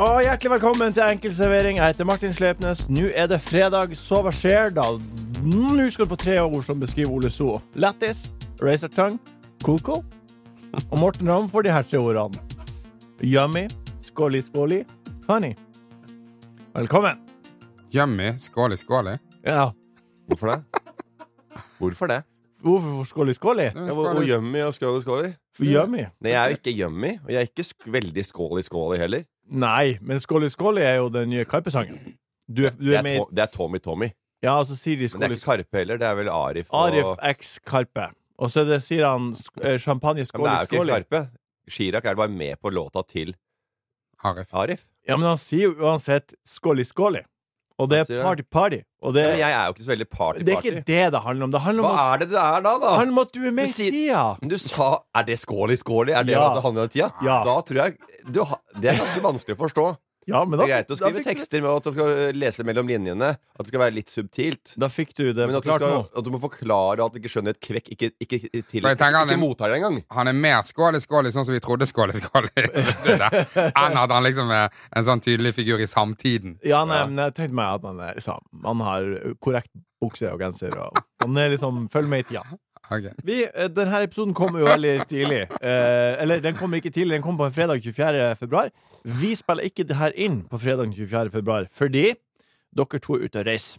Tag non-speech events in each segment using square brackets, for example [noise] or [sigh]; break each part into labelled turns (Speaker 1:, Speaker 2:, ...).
Speaker 1: Og hjertelig velkommen til Enkel servering. Jeg heter Martin Slepnes. Nå er det fredag, så hva skjer da? Nå skal du få tre ord som beskriver Ole So. Lættis, razor tongue, cool-cool. Og Morten Ramm får de her tre ordene. Yummy, skåli-skåli, honey. Velkommen.
Speaker 2: Yummy, skåli, skåli.
Speaker 1: Ja.
Speaker 3: Hvorfor det? Hvorfor det?
Speaker 1: Hvorfor skåli-skåli?
Speaker 3: Ja, hvor, hvor yummy og skål og skål i?
Speaker 1: For yummy.
Speaker 3: Nei, jeg er jo ikke yummy, og jeg er ikke sk veldig skål i skål i heller.
Speaker 1: Nei, men Skåli Skåli er jo den nye Karpe-sangen. Du, er- du
Speaker 3: Det
Speaker 1: er
Speaker 3: er,
Speaker 1: med i
Speaker 3: to det er Tommy Tommy.
Speaker 1: Ja, og så sier de
Speaker 3: Men det er
Speaker 1: Skåli
Speaker 3: ikke Karpe heller, det er vel Arif. Og...
Speaker 1: Arif X Karpe. Og så er det, sier han sk- eh, champagne
Speaker 3: Ja, men
Speaker 1: Skåli
Speaker 3: det er jo ikke
Speaker 1: Skåli.
Speaker 3: Karpe. Chirag er bare med på låta til
Speaker 2: Arif.
Speaker 3: Arif.
Speaker 1: Ja, men han sier jo uansett Skåli Skåli. Og det
Speaker 3: Han
Speaker 1: er
Speaker 3: sier
Speaker 1: party party. Og det,
Speaker 3: Men jeg er jo ikke så veldig
Speaker 1: det er ikke
Speaker 3: party-party.
Speaker 1: det det handler om. Det handler
Speaker 3: Hva
Speaker 1: om, at,
Speaker 3: er det det er da, da?
Speaker 1: handler om at du er med i
Speaker 3: Du sier-
Speaker 1: tida.
Speaker 3: Men Du sa Er det skål i skål i? Er det
Speaker 1: Ja.
Speaker 3: hva det handler om i tida?
Speaker 1: Ja.
Speaker 3: Da tror jeg du, ha- Det er ganske vanskelig å forstå.
Speaker 1: Ja, men
Speaker 3: Det
Speaker 1: da,
Speaker 3: er greit å
Speaker 1: da
Speaker 3: skrive
Speaker 1: fikk du-
Speaker 3: tekster med at du skal lese mellom linjene, at det skal være litt subtilt.
Speaker 1: Da fikk du det
Speaker 3: Men at du,
Speaker 1: forklart
Speaker 3: skal,
Speaker 1: nå.
Speaker 3: at du må forklare at du ikke skjønner et kvekk Ikke, ikke, til,
Speaker 2: For
Speaker 3: ikke,
Speaker 2: jeg tenker han er-
Speaker 3: mottar det engang.
Speaker 2: Han er mer skåli, skåli, sånn som vi trodde skåli, skåli [laughs] det der, enn at han liksom er en sånn tydelig figur i samtiden.
Speaker 1: Ja, nei, men jeg tenkte meg at han, er, liksom, han har korrekt bukse og genser. Og, han er liksom Følg med i tida.
Speaker 2: Ok. [laughs]
Speaker 1: Vi, eh, denne episoden kom jo veldig tidlig. Eh, eller, den kom ikke tidlig, den kom på en fredag 24. februar. Vi spiller ikke det her inn på fredag 24. februar, fordi dere to er ute og reiser.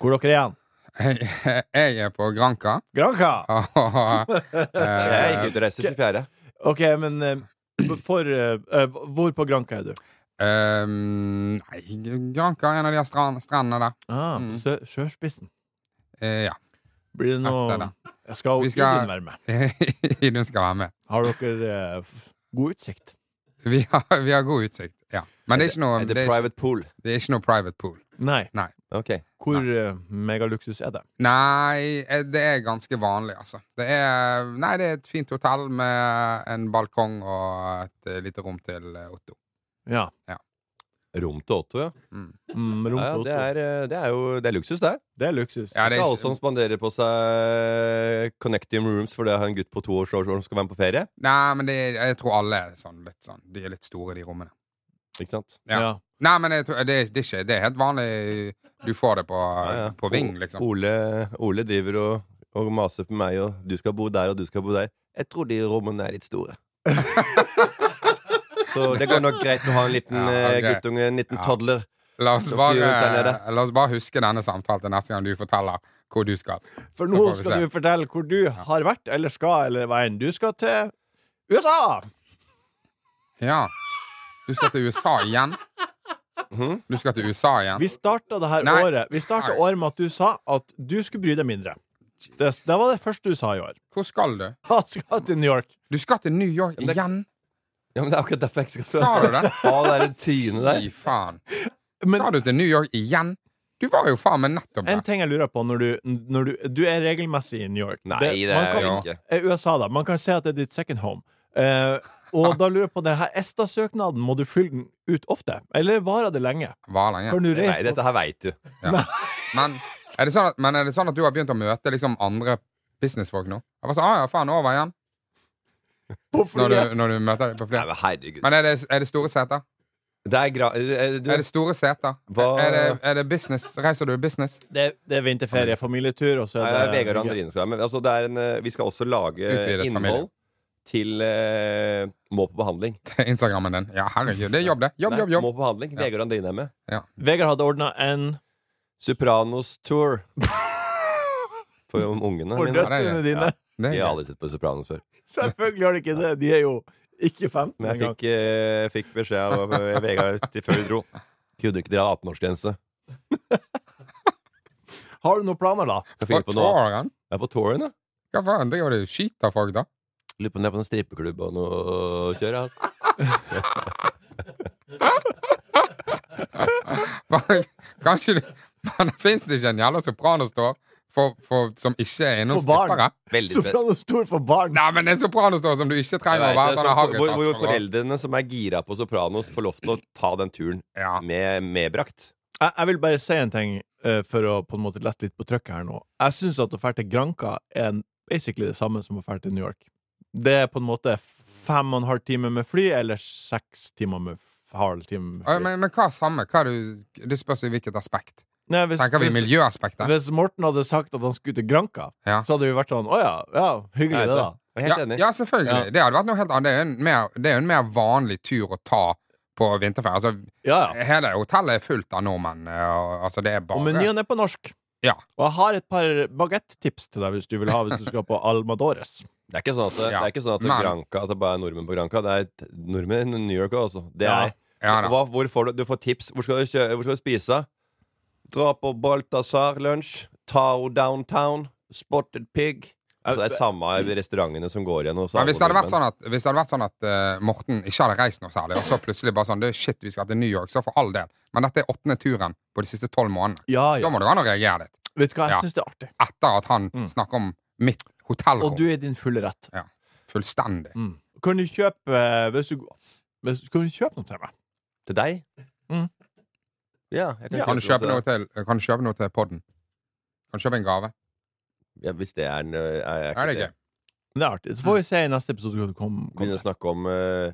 Speaker 1: Hvor dere er hen?
Speaker 2: Jeg, jeg er på Granca.
Speaker 1: Granca!
Speaker 2: Og,
Speaker 3: Jeg
Speaker 2: eh,
Speaker 3: gikk ut og reiste 24.
Speaker 1: OK, men eh, for, eh, eh, hvor på Granca er du?
Speaker 2: eh, nei, Granca er en av de her strand, strendene der.
Speaker 1: Ah, på sø- Sjøspissen.
Speaker 2: Eh, ja. [laughs]
Speaker 1: Blir det
Speaker 2: Mm. Et
Speaker 1: noe
Speaker 2: sted, da.
Speaker 1: Jeg skal
Speaker 2: Vi
Speaker 1: Idun
Speaker 2: skal-
Speaker 1: være med.
Speaker 2: du skal være med.
Speaker 1: Har dere eh, f- god utsikt?
Speaker 2: Vi har, vi har god utsikt. Ja. Men det er ikke noe,
Speaker 3: Er
Speaker 2: det
Speaker 3: det
Speaker 2: er ikke,
Speaker 3: private pool?
Speaker 2: det er ikke noe private pool.
Speaker 1: Nei.
Speaker 3: Ok.
Speaker 1: Hvor eh, megaluksus er det?
Speaker 2: Nei, eh, det er ganske vanlig, altså. Det er, nei, det er et fint hotell med en balkong og et eh, lite rom til eh, Otto.
Speaker 1: Ja.
Speaker 3: Rom til Otto, ja.
Speaker 1: Mm, rom
Speaker 3: ja
Speaker 1: til
Speaker 3: det,
Speaker 1: Otto.
Speaker 3: er, eh, det er jo det er luksus, det.
Speaker 1: Det er luksus.
Speaker 2: Ja,
Speaker 3: Det
Speaker 2: det
Speaker 3: er
Speaker 2: er
Speaker 3: alle som
Speaker 2: ikke,
Speaker 3: spanderer på seg connecting rooms fordi jeg har en gutt på to år som som skal være med på ferie.
Speaker 2: nei, men det er, jeg tror alle er sånn, litt sånn. De er litt store, de rommene.
Speaker 3: Ikke sant?
Speaker 2: Ja. Nei, men jeg tror, det, er- det, er ikke, det er helt vanlig. Du får det på,
Speaker 3: Ja, Oh, ja.
Speaker 2: på Ving,
Speaker 3: O-
Speaker 2: liksom.
Speaker 3: Ole, Ole driver og, og maser på meg, og du skal bo der, og du skal bo der. Jeg tror de rommene er litt
Speaker 2: [laughs]
Speaker 3: store. Så det går nok greit å ha en liten
Speaker 2: Ja,
Speaker 3: eh,
Speaker 2: ok.
Speaker 3: guttunge, en liten
Speaker 2: Ja.
Speaker 3: toddler.
Speaker 2: La oss,
Speaker 3: Så fyr
Speaker 2: bare,
Speaker 3: ut der nede.
Speaker 2: la oss bare huske denne samtalen til neste gang du forteller hvor du skal.
Speaker 1: For
Speaker 2: Så
Speaker 1: nå
Speaker 2: får vi se.
Speaker 1: skal du fortelle hvor du har vært, eller skal, eller hva enn du skal til USA!
Speaker 2: Ja. Du skal til USA igjen.
Speaker 3: Mhm.
Speaker 2: Du skal til USA igjen.
Speaker 1: Vi starta det her
Speaker 2: Nei.
Speaker 1: året Vi startet
Speaker 2: Nei.
Speaker 1: året med at du sa at du skulle bry deg mindre. Det, det var det første du sa i år. [laughs]
Speaker 2: Hvor skal du?
Speaker 1: Han skal til New York.
Speaker 2: Du skal til New York
Speaker 3: Men det-
Speaker 2: igjen?
Speaker 3: Ja, men det er akkurat derfor jeg ikke skal
Speaker 2: Sa du det?
Speaker 3: ha det der trynet der. [laughs]
Speaker 2: Fy faen.
Speaker 1: Men-
Speaker 2: Skal du til New York igjen? Du var jo faen meg nettopp
Speaker 1: En
Speaker 2: der.
Speaker 1: ting jeg lurer på når du, når du Du er regelmessig i New York.
Speaker 3: Nei, det
Speaker 1: man
Speaker 3: er
Speaker 1: kan,
Speaker 3: jo
Speaker 2: jo-
Speaker 3: ikke.
Speaker 1: eh, USA, da. Man kan si at det er ditt second home. Eh, og da lurer jeg på den her ESTA-søknaden. Må du fylle den ut ofte? Eller varer det lenge?
Speaker 2: Var lenge.
Speaker 1: Kan du
Speaker 3: Nei,
Speaker 1: reise på
Speaker 3: dette her veit du.
Speaker 2: Men er, det sånn at, men er det sånn at du har begynt å møte liksom andre businessfolk nå? Jeg var sånn, ah, ja, faen, over igjen
Speaker 1: på
Speaker 2: når
Speaker 1: flyet?
Speaker 2: du, når du møter dem på
Speaker 3: Nei,
Speaker 2: flere.
Speaker 3: men herregud.
Speaker 2: Men er det, er det store seter?
Speaker 3: Det er gra... eh, Du,
Speaker 2: Er det store seter?
Speaker 3: Hva-
Speaker 2: Er det, er det business? Reiser du i business?
Speaker 1: Det, det er vinterferie, familietur, og så
Speaker 3: Nei,
Speaker 1: er det
Speaker 3: Vegard og Andrine skal være med. Altså, det er en, eh, vi skal også lage
Speaker 2: Utvidet familie.
Speaker 3: innhold til eh, Må på behandling.
Speaker 2: Instagrammen din. Ja, herregud, det er jobb, det. Jobb,
Speaker 3: Nei,
Speaker 2: jobb, jobb.
Speaker 3: Må på behandling.
Speaker 2: Ja.
Speaker 3: Vegard og Andrine er med.
Speaker 1: Vegard hadde ordna en
Speaker 3: Sopranos tour. For om ungene
Speaker 1: for
Speaker 3: mine.
Speaker 2: død.
Speaker 1: døtrene
Speaker 2: det
Speaker 1: dine.
Speaker 2: Det
Speaker 3: De
Speaker 2: er
Speaker 3: har
Speaker 2: gøy.
Speaker 3: aldri sett på Sopranos før.
Speaker 1: [laughs] Selvfølgelig har de ikke det. De er jo ikke 15
Speaker 3: Men jeg
Speaker 1: engang.
Speaker 3: fikk, eh, fikk beskjed av eh, Vegard til før vi dro. Kunne ikke dere ha 18-årsgrense?
Speaker 1: Har du noen planer, da?
Speaker 3: Jeg
Speaker 2: Hva
Speaker 3: finner på noe.
Speaker 2: tårer han?
Speaker 3: Jeg er på touren, da.
Speaker 2: Hva faen, driver du og skyter folk, da?
Speaker 3: Lurer på om det er på noen strippeklubb og noe å kjøre. Altså.
Speaker 2: Bare- Kanskje du Men det fins ikke en jævla sopranostov for, for, som ikke er innom
Speaker 1: For barn.
Speaker 2: strippere.
Speaker 3: Veldig fett.
Speaker 1: Sopranos stor for barn.
Speaker 2: Nei, men en sopranostov som du ikke
Speaker 3: Jeg
Speaker 2: trenger å
Speaker 3: vet
Speaker 2: være
Speaker 3: det,
Speaker 2: sånn
Speaker 3: så- hvor,
Speaker 2: harrytasker.
Speaker 3: hvor foreldrene som er gira på Sopranos, får lov til å ta den turen
Speaker 2: Ja.
Speaker 3: med medbrakt.
Speaker 1: Jeg, jeg vil bare si en ting eh, for å på en måte lette litt på trykket her nå. Jeg syns at å dra til Granca er en- basically det samme som å dra til New York. Det er på en måte fem og en halv time med fly, eller seks timer med f- halv time med
Speaker 2: Ja,
Speaker 1: fly.
Speaker 2: Men, men hva er samme? Hva er du, det spørs i hvilket aspekt.
Speaker 1: Nei, hvis,
Speaker 2: Tenker vi
Speaker 1: hvis-
Speaker 2: miljøaspektet?
Speaker 1: Hvis Morten hadde sagt at han skulle til Granca,
Speaker 2: Ja.
Speaker 1: så hadde vi vært sånn Å ja, ja, hyggelig det,
Speaker 3: Jeg vet det.
Speaker 1: da.
Speaker 3: Jeg er
Speaker 2: Ja,
Speaker 3: helt enig.
Speaker 2: ja, selvfølgelig.
Speaker 1: Ja.
Speaker 2: Det hadde vært noe helt annet. Det er jo en mer, det er jo en mer vanlig tur å ta på vinterferie. Altså,
Speaker 1: Ja, ja.
Speaker 2: hele hotellet er fullt av nordmenn. eh, Og, altså, det er
Speaker 1: Og
Speaker 2: bare
Speaker 1: menyen er på norsk.
Speaker 2: Ja.
Speaker 1: Og jeg har et par bagettips til deg hvis du vil ha hvis du skal på Almadores.
Speaker 3: Det er ikke sånn at det,
Speaker 2: Ja,
Speaker 3: det er ikke sånn at
Speaker 2: men-
Speaker 3: Granca, at det bare er nordmenn på Granca. Det er t- nordmenn i New York også. Det
Speaker 1: Ja.
Speaker 3: er,
Speaker 2: Ja da.
Speaker 3: hva, hvor får du, du får tips. Hvor skal du, kjø, hvor skal du spise? Dra på Balthazar-lunsj. Tao Downtown. Spotted Pig. Altså, det er samme restaurantene som går igjen. hos
Speaker 2: Men
Speaker 3: alle
Speaker 2: hvis det hadde vært
Speaker 3: nordmenn.
Speaker 2: sånn at, hvis det hadde vært sånn at eh, Morten ikke hadde reist noe særlig, og så plutselig bare sånn du, Shit, vi skal til New York, så for all del. Men dette er åttende turen på de siste tolv månedene.
Speaker 1: Ja,
Speaker 2: Da
Speaker 1: ja.
Speaker 2: må det gå an å reagere litt.
Speaker 1: Vet du hva,
Speaker 2: Ja.
Speaker 1: jeg syns det er artig.
Speaker 2: Etter at han
Speaker 1: Mm.
Speaker 2: snakker om mitt
Speaker 1: Og
Speaker 2: hotellrom.
Speaker 1: du er i din fulle rett.
Speaker 2: Fullstendig.
Speaker 1: Kan du kjøpe eh, Hvis du hvis, Kan du kjøpe noe til meg?
Speaker 3: Til deg?
Speaker 1: Mm.
Speaker 3: Ja, jeg kan
Speaker 1: Ja.
Speaker 2: sånn- Kan du kjøpe noe til, kan du kjøpe noe til podden? Kan du kjøpe en gave?
Speaker 3: Ja, hvis det er, en, ø, er, er
Speaker 2: Er det gøy?
Speaker 1: Det er artig. Så får vi se i neste episode hva du kom- kommer
Speaker 3: Begynne å snakke om ø,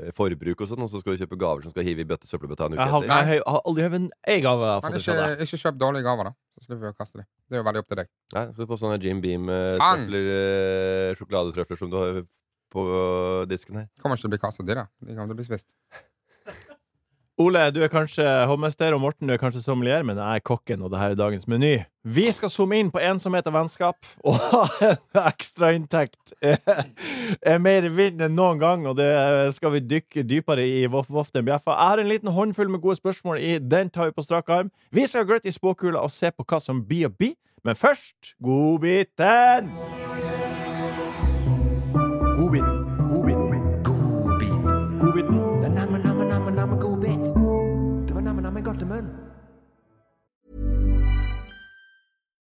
Speaker 3: ø, forbruk og sånn, og så skal du kjøpe gaver som skal hive i bøtte søppelbøtta en
Speaker 1: Jeg
Speaker 3: uke
Speaker 1: har,
Speaker 3: etter.
Speaker 1: jeg har- jeg har aldri hørt en ei gave jeg har
Speaker 2: Men
Speaker 1: fått
Speaker 2: ikke,
Speaker 1: fra deg.
Speaker 2: ikke kjøp dårlige gaver, da. Så slipper vi å kaste dem. Det er jo veldig opp til deg.
Speaker 3: Nei, skal du få sånne Jim eh,
Speaker 2: Pang!
Speaker 3: Beam-trøfler, sjokoladetrøfler eh, som du har på ø, disken her.
Speaker 2: Kommer ikke til å bli kastet, de, da. De kommer til å bli spist.
Speaker 1: Ole, du er kanskje hovmester, og Morten, du er kanskje sommelier, men jeg er kokken, og det her er dagens meny. Vi skal zoome inn på ensomhet og vennskap, [laughs] og en ekstrainntekt er, [laughs] er mer vill enn noen gang, og det skal vi dykke dypere i Voff Voff den bjeffa. Jeg har en liten håndfull med gode spørsmål i Den tar vi på strak arm. Vi skal gløtte i spåkula og se på hva som blir å bli, men først Godbiten! Godbiten. Godbiten. Godbiten.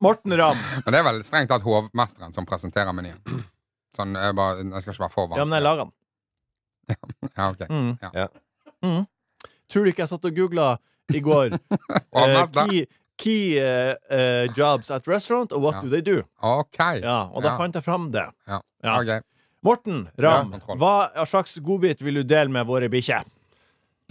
Speaker 1: Morten Ramm.
Speaker 2: Men det er vel strengt tatt hovmesteren som presenterer menyen. Sånn, jeg, bare, jeg skal ikke være for
Speaker 1: Ja, men jeg
Speaker 2: vanskelig.
Speaker 1: lager den.
Speaker 2: Ja, ok.
Speaker 1: Mm.
Speaker 2: Ja.
Speaker 3: Ja.
Speaker 1: Mm. Tror du ikke jeg satt og googla i går eh,
Speaker 2: Hovmester?
Speaker 1: key, key eh, eh, jobs at restaurant og what
Speaker 2: Ja.
Speaker 1: do they do?
Speaker 2: Ok.
Speaker 1: Ja, og da
Speaker 2: Ja.
Speaker 1: fant jeg fram det.
Speaker 2: Ja.
Speaker 1: Ja.
Speaker 2: Ok.
Speaker 1: Morten Ramm,
Speaker 2: Ja, kontroll.
Speaker 1: hva slags godbit vil du dele med våre bikkjer?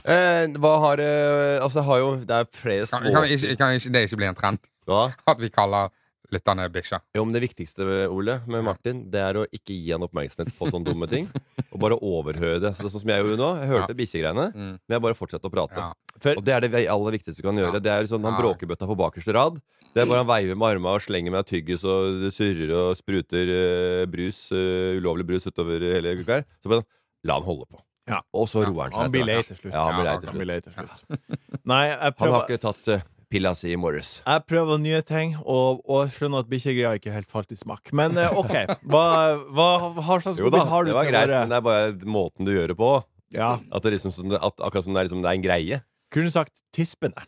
Speaker 3: Eh, hva har ø, Altså, jeg har jo Det er flere
Speaker 2: Kan,
Speaker 3: små
Speaker 2: kan, vi ikke, kan ikke, det ikke bli en trend?
Speaker 3: Hva?
Speaker 2: At vi kaller lytterne bikkjer?
Speaker 3: Jo, men Det viktigste Ole, med Martin Det er å ikke gi han oppmerksomhet på sånne dumme ting. Og bare overhøre det. Så det er sånn som jeg gjorde nå. Jeg hørte bikkjegreiene,
Speaker 2: Mm.
Speaker 3: men jeg bare fortsatte å prate.
Speaker 2: Ja.
Speaker 3: Og det er det vi- aller viktigste du kan gjøre. Det er sånn, Han
Speaker 2: Ja.
Speaker 3: bråkebøtta på bakerste rad. Det er bare Han veiver med armene og slenger med tyggis og det surrer og spruter eh, brus, eh, ulovlig brus utover hele uka. her. Så bare sånn, la han holde på.
Speaker 1: Ja.
Speaker 3: Og så roer han seg.
Speaker 1: Han blir
Speaker 3: etter
Speaker 1: lei
Speaker 3: hvert.
Speaker 1: til slutt.
Speaker 3: Ja, han blir
Speaker 2: Ja,
Speaker 3: lei til
Speaker 1: Han blir
Speaker 3: slutt.
Speaker 1: lei til slutt. Nei, jeg
Speaker 3: Han har
Speaker 1: prøver,
Speaker 3: ikke tatt eh, pilla si i morges.
Speaker 1: jeg prøver nye ting, og, og skjønner at bikkjegreier ikke helt falt i smak. Men eh, OK,
Speaker 3: [laughs]
Speaker 1: hva, hva har slags
Speaker 3: Jo da,
Speaker 1: godbit har du
Speaker 3: det var
Speaker 1: til
Speaker 3: greit,
Speaker 1: våre
Speaker 3: men det er bare måten du gjør det på.
Speaker 1: ja,
Speaker 3: At det er liksom, sånn- at akkurat som det er, liksom, det er en greie.
Speaker 1: Kunne sagt tispene.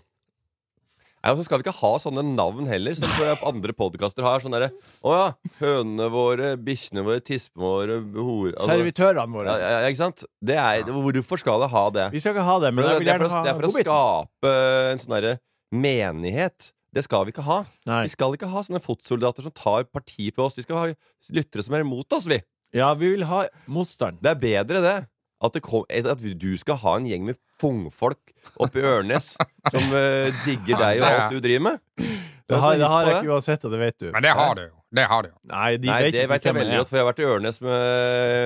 Speaker 3: Nei, og så skal vi ikke ha sånne navn heller, som tror jeg andre podkaster har. Sånn derre Å ja, hønene våre, bikkjene våre, tispene våre, hore altså,
Speaker 1: Servitørene våre.
Speaker 3: ja, ja, ja, Ikke sant? Det er, Hvorfor skal det ha det?
Speaker 1: Vi skal ikke ha det,
Speaker 3: For
Speaker 1: men
Speaker 3: det,
Speaker 1: jeg vil
Speaker 3: det er
Speaker 1: gjerne
Speaker 3: for å,
Speaker 1: ha
Speaker 3: det er for å
Speaker 1: godbiten.
Speaker 3: skape en sånn derre menighet. Det skal vi ikke ha.
Speaker 1: Nei.
Speaker 3: Vi skal ikke ha sånne fotsoldater som tar parti på oss. Vi skal ha lyttere som er imot oss, vi.
Speaker 1: Ja, vi vil ha motstand.
Speaker 3: Det er bedre det. At, det kom, at du skal ha en gjeng med
Speaker 1: [laughs]
Speaker 3: fungfolk oppe i Ørnes som eh, digger deg og alt du driver med.
Speaker 1: Det har, det har jeg
Speaker 3: På det?
Speaker 1: ikke uansett, og det vet du.
Speaker 2: Men det har du jo. Det har du jo.
Speaker 1: Nei, de
Speaker 3: Nei,
Speaker 1: vet
Speaker 3: det
Speaker 1: ikke
Speaker 3: vet jeg
Speaker 1: hvem han
Speaker 3: veldig
Speaker 1: er.
Speaker 3: godt, for jeg har vært i Ørnes med,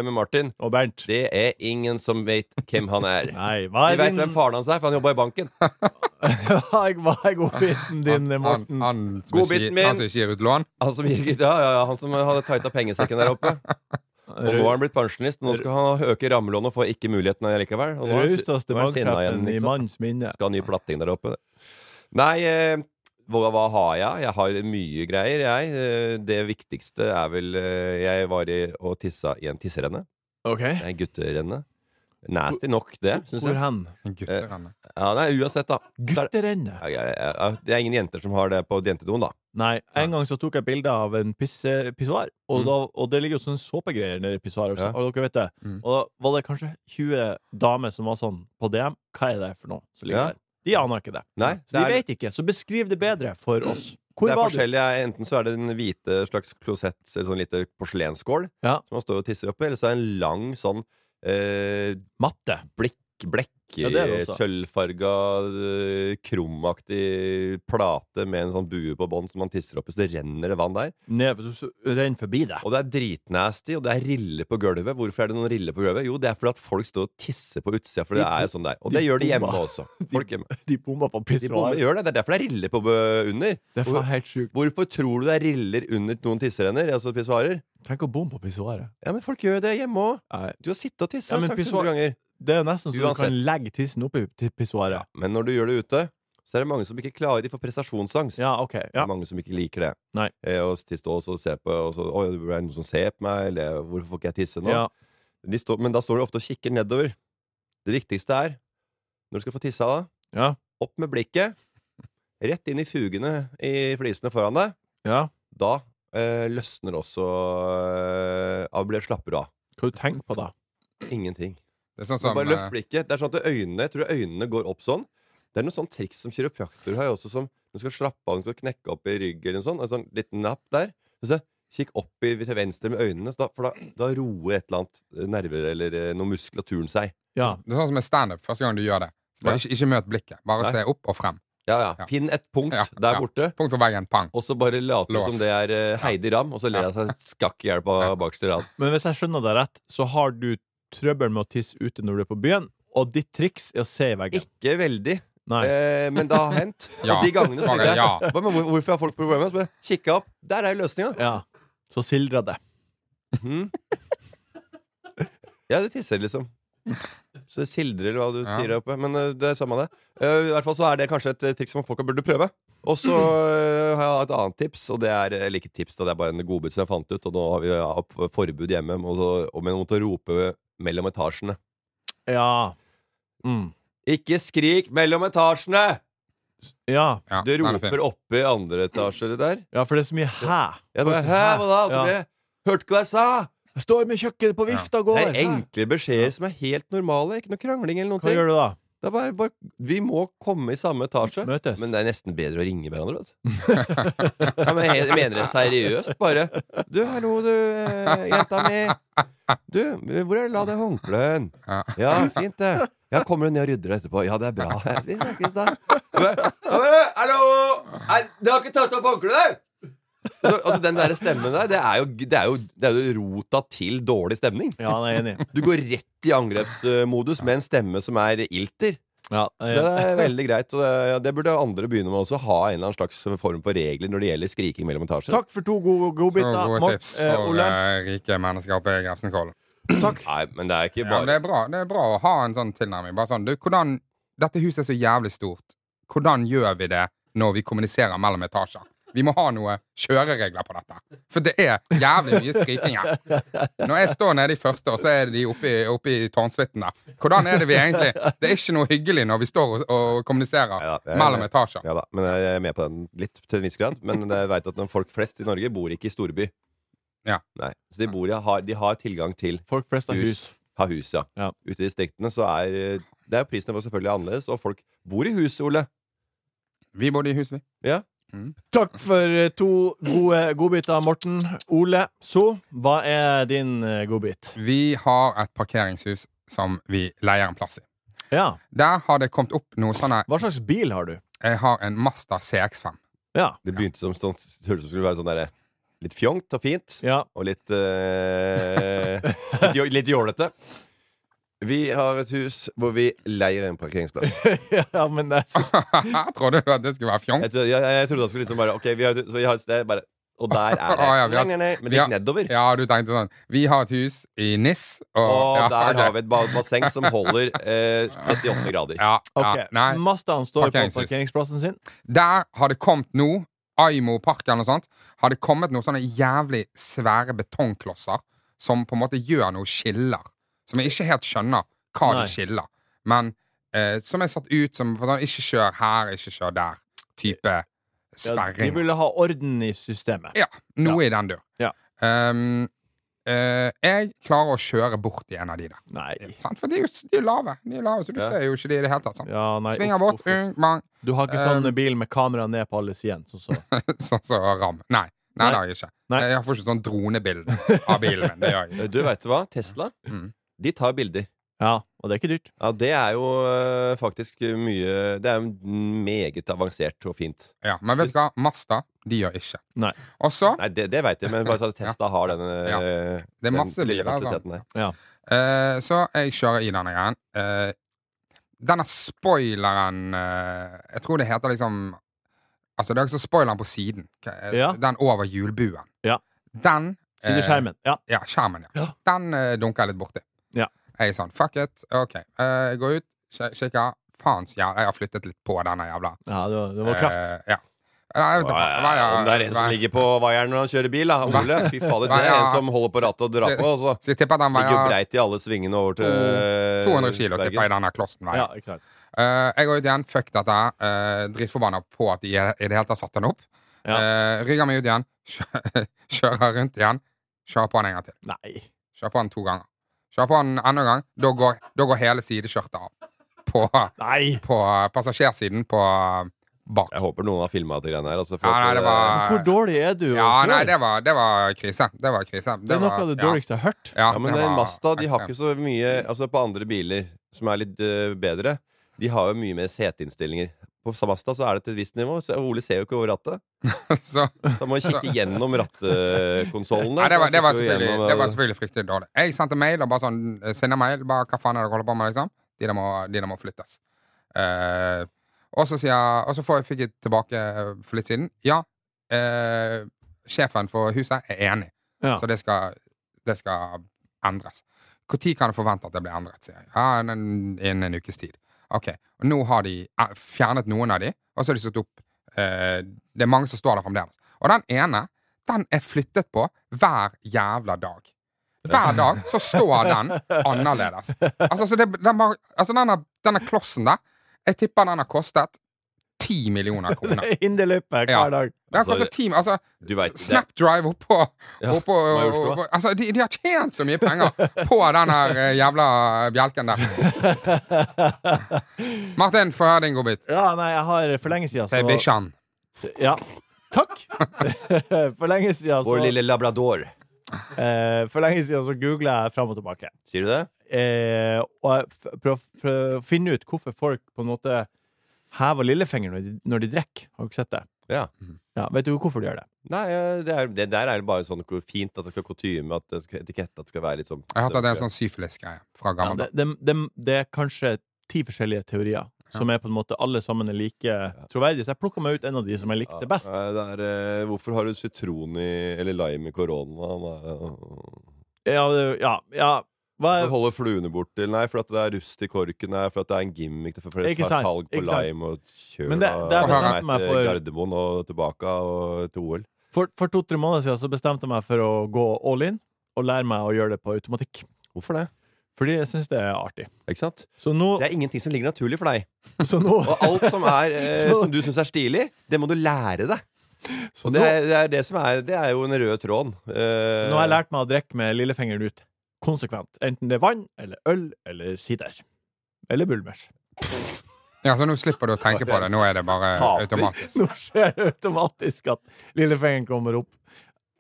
Speaker 3: med Martin.
Speaker 1: Og Bernt.
Speaker 3: Det er ingen som vet hvem han er.
Speaker 1: Nei, hva
Speaker 3: Vi
Speaker 1: er
Speaker 3: veit
Speaker 1: din
Speaker 3: hvem faren hans er, for han jobba i banken.
Speaker 1: [laughs] Hva er- hva er godbiten din, eh,
Speaker 2: Han,
Speaker 1: Morten?
Speaker 2: han, som
Speaker 3: Godbiten
Speaker 2: ikke,
Speaker 3: min.
Speaker 2: han som ikke gir ut lån. [laughs]
Speaker 3: Han som, gikk, ja, ja, ja, han som hadde tighta pengesekken der oppe. Og nå har han blitt pensjonist. Nå skal han øke rammelånet og får ikke muligheten likevel. Og nå er han-
Speaker 1: Rausteste
Speaker 3: nå er han sinna igjen,
Speaker 1: magkreften i
Speaker 3: ikke sant?
Speaker 1: manns minne.
Speaker 3: Skal ha ny platting der oppe. Nei, eh, hva, hva har jeg? Jeg har mye greier, jeg. Eh, Det viktigste er vel eh, Jeg var i, og tissa i en tisserenne.
Speaker 1: Ok.
Speaker 3: Nei, gutterenne. Nasty nok, det, syns
Speaker 1: Hvor
Speaker 3: jeg.
Speaker 1: hen?
Speaker 3: Eh,
Speaker 2: Gutterene.
Speaker 3: Ja, nei, uansett, da. Så er det-
Speaker 1: Gutterenne.
Speaker 3: Ja, ja, ja, ja, Det er ingen jenter som har det på jentedoen, da.
Speaker 1: Nei, en gang så tok jeg bilde av en pisse- pissoar, og,
Speaker 3: Mm.
Speaker 1: da- og det ligger jo sånne såpegreier nedi pissoaret,
Speaker 3: Ja.
Speaker 1: og dere vet det.
Speaker 2: Mm.
Speaker 1: Og da var det kanskje 20 damer som var sånn på DM. Hva er det for noe som ligger
Speaker 3: Ja.
Speaker 1: der? De aner ikke det.
Speaker 3: Nei,
Speaker 1: Så de
Speaker 3: det er-
Speaker 1: vet ikke. Så beskriv det bedre for oss. [clears throat] Hvor
Speaker 3: det er
Speaker 1: var du?
Speaker 3: forskjellig. Enten så er det en hvite slags klosett, en sånn lite porselensskål,
Speaker 1: Ja.
Speaker 3: som man står og tisser oppi, eller så er det en lang sånn eh,
Speaker 1: Matte.
Speaker 3: blekk, blekk,
Speaker 1: Ja, det er det også.
Speaker 3: sølvfarga, eh, krumaktig plate med en sånn bue på bånn som man tisser oppi, så det renner det vann der.
Speaker 1: Ned, så renn forbi deg.
Speaker 3: Og det er dritnasty, og det er riller på gulvet. Hvorfor er det noen riller på gulvet? Jo, det er fordi at folk står og tisser på utsida, for det er jo sånn der. Og
Speaker 1: de
Speaker 3: det gjør de hjemme
Speaker 1: bomba.
Speaker 3: også. Folk hjemme.
Speaker 1: [laughs] [laughs] De bomma på
Speaker 3: De bomber,
Speaker 1: pissoaret.
Speaker 3: gjør det. Det er derfor det er riller på bø- under.
Speaker 1: Det er faen helt sjukt.
Speaker 3: Hvorfor tror du det er riller under noen tisserenner? Altså pissoarer?
Speaker 1: Tenk å bomme på pissoaret.
Speaker 3: Ja, men folk gjør det hjemme òg.
Speaker 1: Nei.
Speaker 3: Du har sittet og tissa
Speaker 1: Ja, men
Speaker 3: sagt
Speaker 1: pissoar-
Speaker 3: 100 ganger.
Speaker 1: Det er nesten så du
Speaker 3: Uansett.
Speaker 1: kan legge tissen oppi til pissoaret.
Speaker 3: Men når du gjør det ute, så er det mange som ikke klarer De får prestasjonsangst.
Speaker 1: Ja, ok.
Speaker 3: Det
Speaker 1: Ja.
Speaker 3: er Mange som ikke liker det.
Speaker 1: Nei.
Speaker 3: Eh, og til stå og så se på og så, Oi, det er noen som ser på meg, eller hvorfor får ikke jeg tisse nå?
Speaker 1: Ja.
Speaker 3: De står, men da står de ofte og kikker nedover. Det viktigste er, når du skal få tissa, da,
Speaker 1: Ja.
Speaker 3: opp med blikket, rett inn i fugene i flisene foran deg.
Speaker 1: ja.
Speaker 3: Da eh, løsner også eh, av- blir- Slapper du av.
Speaker 1: Hva du tenker på da?
Speaker 3: Ingenting.
Speaker 2: Det er sånn
Speaker 3: Du
Speaker 2: som
Speaker 3: Bare
Speaker 2: eh,
Speaker 3: løft blikket. Det er sånn at øynene, jeg tror øynene går opp sånn. Det er noe sånn triks som kiropraktorer har også, som du skal slappe av, du skal knekke opp i ryggen eller noe sånt. En sånn liten napp der. Og så kikk opp i, til venstre med øynene, så da, for da, da roer et eller annet eh, nerver eller eh, noe muskulaturen seg.
Speaker 1: Ja.
Speaker 2: Det er sånn som med standup. Første gang du gjør det. Så bare
Speaker 3: Ja.
Speaker 2: ikke, ikke møt blikket. Bare
Speaker 3: Nei.
Speaker 2: se opp og frem.
Speaker 3: Ja, ja.
Speaker 2: Ja.
Speaker 3: Finn et punkt
Speaker 2: Ja,
Speaker 3: der
Speaker 2: ja.
Speaker 3: borte,
Speaker 2: Punkt på veggen. Pang.
Speaker 3: og så bare late
Speaker 2: Lås.
Speaker 3: som det er eh, Heidi Ram, og så ler jeg seg skakk i hjel på
Speaker 2: Ja.
Speaker 3: bakerste rad.
Speaker 1: Men hvis jeg skjønner deg rett, så har du trøbbel med å tisse ute når du er på byen, og ditt triks er å se i veggen.
Speaker 3: Ikke veldig,
Speaker 1: Nei.
Speaker 3: eh, men det har hendt.
Speaker 2: Ja.
Speaker 3: Og de gangene så
Speaker 2: Svaret
Speaker 3: tenkte
Speaker 2: er ja.
Speaker 3: jeg "Hva, men hvor- Hvorfor har folk problemer? Så bare kikka opp. Der er jo løsninga.
Speaker 1: Ja. Så sildrer det.
Speaker 3: Mhm. [laughs] Ja, du tisser, liksom. Så det sildrer eller hva du
Speaker 2: Ja.
Speaker 3: sier der oppe. Men eh, det er samme det. Eh, I hvert fall så er det kanskje et eh, triks som folk burde prøve. Og så eh, har jeg et annet tips, og det er eh, eller ikke tips, da, det er bare en godbit som jeg fant ut. Og nå har vi eh, opp- forbud hjemme og så, og men mot å rope mellom etasjene.
Speaker 1: Ja. Mm.
Speaker 3: Ikke skrik 'mellom etasjene'!
Speaker 1: Ja.
Speaker 2: Ja,
Speaker 3: Du
Speaker 2: den er fin.
Speaker 3: roper oppe i andre etasje det der.
Speaker 1: ja, for det er så mye hæ.
Speaker 3: Jeg bare, Hæ, hva da? Og så
Speaker 1: Ja.
Speaker 3: blir det, Hørte ikke hva jeg sa!
Speaker 1: Jeg står med kjøkkenet på vifta og går.
Speaker 3: Det er enkle beskjeder som er helt normale. Ikke noe krangling eller noen
Speaker 1: Hva
Speaker 3: ting.
Speaker 1: gjør du da?
Speaker 3: Det er bare, bare, vi må komme i samme etasje.
Speaker 1: Møtes.
Speaker 3: Men det er nesten bedre å ringe hverandre, vet du. [laughs] ja, men jeg mener det seriøst, bare. Du, hallo, du, eh, jenta mi. Du, hvor er la det håndkleet?
Speaker 2: Ja.
Speaker 3: Ja, fint, det. Ja, kommer du ned og rydder det etterpå? Ja, det er bra. Vi snakkes da. Jeg bare, «Ja, men, Hallo! Nei, Du har ikke tatt opp håndkleet? Så, Altså, den der stemmen der, det er, jo, det, er jo, det er jo rota til dårlig stemning.
Speaker 1: Ja, jeg er
Speaker 2: [laughs]
Speaker 1: enig.
Speaker 3: Du går rett i angrepsmodus med en stemme som er ilter.
Speaker 1: Ja, jeg
Speaker 3: Så
Speaker 1: er enig.
Speaker 3: det er veldig greit, og det, ja, det burde andre begynne med også. Ha en eller annen slags form for regler når det gjelder skriking mellom etasjer.
Speaker 1: Takk for to gode
Speaker 2: Så
Speaker 1: godbiter.
Speaker 2: gode
Speaker 1: Morten,
Speaker 2: tips
Speaker 1: eh,
Speaker 2: for
Speaker 1: Ole.
Speaker 2: eh, rike mennesker oppe i Grefsenkollen.
Speaker 3: Nei, men det er ikke
Speaker 2: Ja, men
Speaker 3: bare
Speaker 2: det, er bra- det er bra å ha en sånn tilnærming. Bare sånn, du, hvordan, dette huset er så jævlig stort. Hvordan gjør vi det når vi kommuniserer mellom etasjer? Vi må ha noe kjøreregler på dette. For det er jævlig mye skriking her. Når jeg står nede i første, og så er de oppe i, oppe i tårnsuiten der. Hvordan er det vi egentlig Det er ikke noe hyggelig når vi står og, og kommuniserer
Speaker 3: Ja, jeg er
Speaker 2: mellom
Speaker 3: med.
Speaker 2: etasjer.
Speaker 3: Ja da, men jeg er med på den litt til en viss grad. Men jeg vet at når folk flest i Norge bor ikke i storby.
Speaker 2: Ja.
Speaker 3: Nei, så de, bor, i- har, de har tilgang til
Speaker 1: Folk flest har hus.
Speaker 3: hus. Har hus, ja.
Speaker 1: Ja.
Speaker 3: Ute i distriktene så er eh, det er prisnivået selvfølgelig annerledes, og folk bor i hus, Ole.
Speaker 2: Vi bodde i hus, vi.
Speaker 1: Takk for eh, to gode godbiter, Morten. Ole, så hva er din eh, godbit?
Speaker 2: Vi har et parkeringshus som vi leier en plass i.
Speaker 1: Ja.
Speaker 2: Der har det kommet opp noe sånn sånne
Speaker 1: Hva slags bil har du?
Speaker 2: Jeg har en Mazda CX5.
Speaker 1: Ja.
Speaker 3: Det begynte som sånn, hørtes ut som skulle være sånn derre litt fjongt og fint.
Speaker 1: ja.
Speaker 3: Og litt eh, litt jo- Litt jålete. Vi har et hus hvor vi leier en parkeringsplass.
Speaker 1: [laughs] ja, men det er så
Speaker 2: Trodde du at det skulle være fjong?
Speaker 3: Jeg, tro- jeg, jeg trodde han skulle liksom bare Ok, vi har, et- så vi har et sted, bare Og der er det.
Speaker 2: Å, Ah, ja, vi har-
Speaker 3: nei, nei, nei, men
Speaker 2: vi
Speaker 3: det
Speaker 2: har-
Speaker 3: gikk nedover.
Speaker 2: Ja, du tenkte sånn Vi har et hus i Nis, og
Speaker 3: Og
Speaker 2: ja,
Speaker 3: der
Speaker 2: ok.
Speaker 3: har vi et ba- basseng som holder eh, 38 grader.
Speaker 2: [laughs] ja, [laughs] ja,
Speaker 1: Ok,
Speaker 2: Nei.
Speaker 1: Mazdaen står på
Speaker 2: Parkeringshus.
Speaker 1: parkeringsplassen sin. Der
Speaker 2: Der har det kommet nå, Aimo-parken eller noe sånt, har det kommet noen sånne jævlig svære betongklosser som på en måte gjør noe skiller. Som jeg ikke helt skjønner hva
Speaker 1: Nei.
Speaker 2: det skiller. Men eh, som er satt ut som for sånn, ikke kjør her, ikke kjør der. Type
Speaker 1: ja, de
Speaker 2: sperring.
Speaker 1: ville ha orden i systemet.
Speaker 2: Ja, noe i den dur.
Speaker 1: Ja.
Speaker 2: Ehm, eh, jeg klarer å kjøre bort i en av de der.
Speaker 1: Nei.
Speaker 2: Sant? For de er jo de er lave, de er lave, så du
Speaker 3: Ja.
Speaker 2: ser jo ikke de i det hele tatt. Sant?
Speaker 1: Ja, nei.
Speaker 2: Svinger
Speaker 1: uff,
Speaker 2: bort,
Speaker 1: uff,
Speaker 2: Um,
Speaker 1: uff.
Speaker 2: ung, bang, [laughs]
Speaker 1: Du har ikke sånn bil med kamera ned på alle sidene? Sånn så.
Speaker 2: Sånn som ram. Nei, nei,
Speaker 1: Nei.
Speaker 2: det har jeg ikke.
Speaker 1: Nei.
Speaker 2: Jeg får ikke sånn dronebilde av bilen min. Det gjør jeg ikke.
Speaker 3: Eh, Du, veit du hva? Tesla,
Speaker 2: Mm.
Speaker 3: de tar bilder.
Speaker 1: Ja, og det er ikke dyrt.
Speaker 3: Ja, det er jo eh, faktisk mye Det er jo meget avansert og fint.
Speaker 2: Ja, men vet du hva? Mazda, de gjør ikke.
Speaker 1: Nei.
Speaker 2: Og så
Speaker 3: Nei, det, det veit jeg, men bare så at Tesla har den eh,
Speaker 2: Ja. Det er
Speaker 3: den
Speaker 2: masse
Speaker 3: lille
Speaker 2: biler, altså.
Speaker 3: fasiliteten der.
Speaker 2: eh, Så jeg kjører i denne greien. Eh, denne spoileren eh, Jeg tror det heter liksom Altså, det er altså spoileren på siden. K- eh,
Speaker 1: Ja.
Speaker 2: Den over hjulbuen.
Speaker 1: Ja.
Speaker 2: Den eh,
Speaker 1: Sideskjermen. Ja.
Speaker 2: Ja, skjermen, ja.
Speaker 1: Ja.
Speaker 2: Den eh, dunker jeg litt borti.
Speaker 1: Ja.
Speaker 2: Jeg er sånn, fuck it. OK. Eh, jeg går ut, kje- kikker. Faens jævla, jeg har flyttet litt på denne jævla
Speaker 1: ja det, var, det var kraft.
Speaker 2: Eh, ja. Nei, jeg vet ikke faen. Hva
Speaker 3: Om det er en som ligger på vaieren når han kjører bil, da. Ole. Fy fader, det er en som holder på rattet og drar på. Og så
Speaker 2: Så jeg tipper at den
Speaker 3: ligger jo
Speaker 2: veier
Speaker 3: breit i alle svingene over til eh,
Speaker 2: 200 Mm. kilo,
Speaker 3: Bergen.
Speaker 2: tipper jeg denne klossen
Speaker 1: Ja,
Speaker 2: veier.
Speaker 1: ikke sant.
Speaker 2: Eh, jeg går ut igjen, fuck dette. Uh, Dritforbanna på at de i i det hele tatt satte den opp.
Speaker 1: Ja.
Speaker 2: Eh, rygger meg ut igjen, [laughs] kjø- kjører rundt igjen. Kjører på den en gang til.
Speaker 1: Nei.
Speaker 2: Kjører på den to ganger. Kjører på den enda en gang. Da går, da går hele sideskjørtet av. På,
Speaker 1: Nei!
Speaker 2: på eh, passasjersiden på eh, bak.
Speaker 3: Jeg håper noen har filma de greiene her. Altså, for
Speaker 2: Ja,
Speaker 3: at,
Speaker 2: nei, det var
Speaker 1: Hvor dårlig er du? å
Speaker 2: Eh, Ja,
Speaker 1: kjøre?
Speaker 2: nei, det var, det var krise. Det var krise.
Speaker 1: det er noe av det
Speaker 2: ja.
Speaker 1: dårligste jeg har hørt.
Speaker 3: Ja, men
Speaker 2: det
Speaker 3: eh,
Speaker 2: var
Speaker 3: Mazda de har
Speaker 2: ekstremt.
Speaker 3: ikke så mye Altså På andre biler som er litt eh, bedre, de har jo mye mer seteinnstillinger. På Mazda så er det til et visst nivå. Så Ole ser jo ikke over rattet.
Speaker 2: [laughs] Så,
Speaker 3: Så han må jo kikke gjennom rattkonsollene.
Speaker 2: Nei, det var,
Speaker 3: Så han
Speaker 2: det,
Speaker 3: kikker
Speaker 2: var
Speaker 3: jo
Speaker 2: selvfølgelig,
Speaker 3: gjennom, eh,
Speaker 2: det var selvfølgelig fryktelig dårlig. Jeg sendte mail og bare sånn eh, Sender mail, bare hva faen er det dere holder på med, liksom? De der må, de der må flyttes. Eh, og så sier jeg- og så får jeg- fikk jeg tilbake eh, for litt siden Ja, eh, sjefen for huset er enig,
Speaker 1: Ja.
Speaker 2: så det skal, det skal endres. Når kan du forvente at det blir endret? sier jeg. Ja, innen, innen en ukes tid. Ok, og Nå har de eh, fjernet noen av de, og så har de satt opp eh, Det er mange som står der fremdeles. Og den ene, den er flyttet på hver jævla dag. Hver dag så står den annerledes. Altså, så det, den, var- altså denne, denne klossen der, jeg tipper den har kostet 10 millioner
Speaker 1: [laughs]
Speaker 2: kroner.
Speaker 1: Hinderløype
Speaker 2: Ja.
Speaker 1: hver dag.
Speaker 2: Den har
Speaker 3: Altså,
Speaker 2: kostet 10, altså,
Speaker 3: Du vet, det,
Speaker 2: Snapdrive oppå,
Speaker 3: Ja,
Speaker 2: oppå,
Speaker 3: hva gjorde du da?
Speaker 2: oppå Altså, de, de har tjent så mye penger på den her eh, jævla
Speaker 3: [laughs]
Speaker 2: bjelken der. Martin, få høre din godbit.
Speaker 1: Ja, nei, jeg har for lenge siden
Speaker 2: Til
Speaker 1: så
Speaker 2: bikkjan.
Speaker 1: Ja. Takk!
Speaker 2: [laughs]
Speaker 1: For lenge siden så
Speaker 3: Vår lille labrador.
Speaker 1: eh, For lenge siden så googla jeg fram og tilbake.
Speaker 3: Sier du det?
Speaker 1: Eh, og jeg f- prøv, prøv å finne ut hvorfor folk på en måte hever lillefingeren når de, når de drikker. Har du ikke sett det?
Speaker 3: Ja.
Speaker 1: Ja, vet du hvorfor de gjør det?
Speaker 3: Nei, eh, det, er, det der er jo bare sånn ko- fint at det skal kutyme, at det skal- etikette at det skal være litt sånn
Speaker 2: Jeg har hørt at det er en sånn syfilis-greie fra
Speaker 1: Ja,
Speaker 2: gammel
Speaker 1: det,
Speaker 2: dag.
Speaker 1: det, det, det er kanskje ti forskjellige teorier. Som er på en måte alle sammen er like troverdige. Så jeg plukka meg ut en av de som jeg likte best.
Speaker 3: Ja, det er, eh, hvorfor har du sitron i Eller lime i korona?
Speaker 1: Ja, det- ja, ja. Hva
Speaker 3: For å
Speaker 1: er,
Speaker 3: holde fluene bort til Nei, for at det er rust i korken Nei, for at det er en gimmick For det
Speaker 1: Ikke
Speaker 3: er
Speaker 1: sant,
Speaker 3: salg på
Speaker 1: ikke sant.
Speaker 3: lime og kjør
Speaker 1: Men det- det
Speaker 2: er
Speaker 3: og,
Speaker 2: bestemt
Speaker 3: Nei,
Speaker 1: meg
Speaker 3: til
Speaker 1: for-
Speaker 3: Gardermoen og tilbake og til OL
Speaker 1: for for to-tre måneder siden så bestemte jeg meg for å gå all in og lære meg å gjøre det på automatikk.
Speaker 3: Hvorfor det?
Speaker 1: Fordi jeg syns det er artig.
Speaker 3: Ikke sant?
Speaker 1: Så nå,
Speaker 3: Det er ingenting som ligger naturlig for
Speaker 1: [laughs]
Speaker 3: deg
Speaker 1: så nå,
Speaker 3: Og alt som, er, eh,
Speaker 1: Så-
Speaker 3: som du synes er stilig Det må du lære deg
Speaker 1: så nå,
Speaker 3: Og det er, det er det som er Det er jo en rød tråd eh,
Speaker 1: nå har jeg lært meg å drikke med lillefingeren ut. Konsekvent. Enten det er vann eller øl eller sider. Eller bulmers.
Speaker 2: Ja, så nå slipper du å tenke på det. Nå er det bare
Speaker 1: [laughs]
Speaker 3: Taper.
Speaker 2: automatisk.
Speaker 1: Nå skjer det automatisk at lillefingeren kommer opp.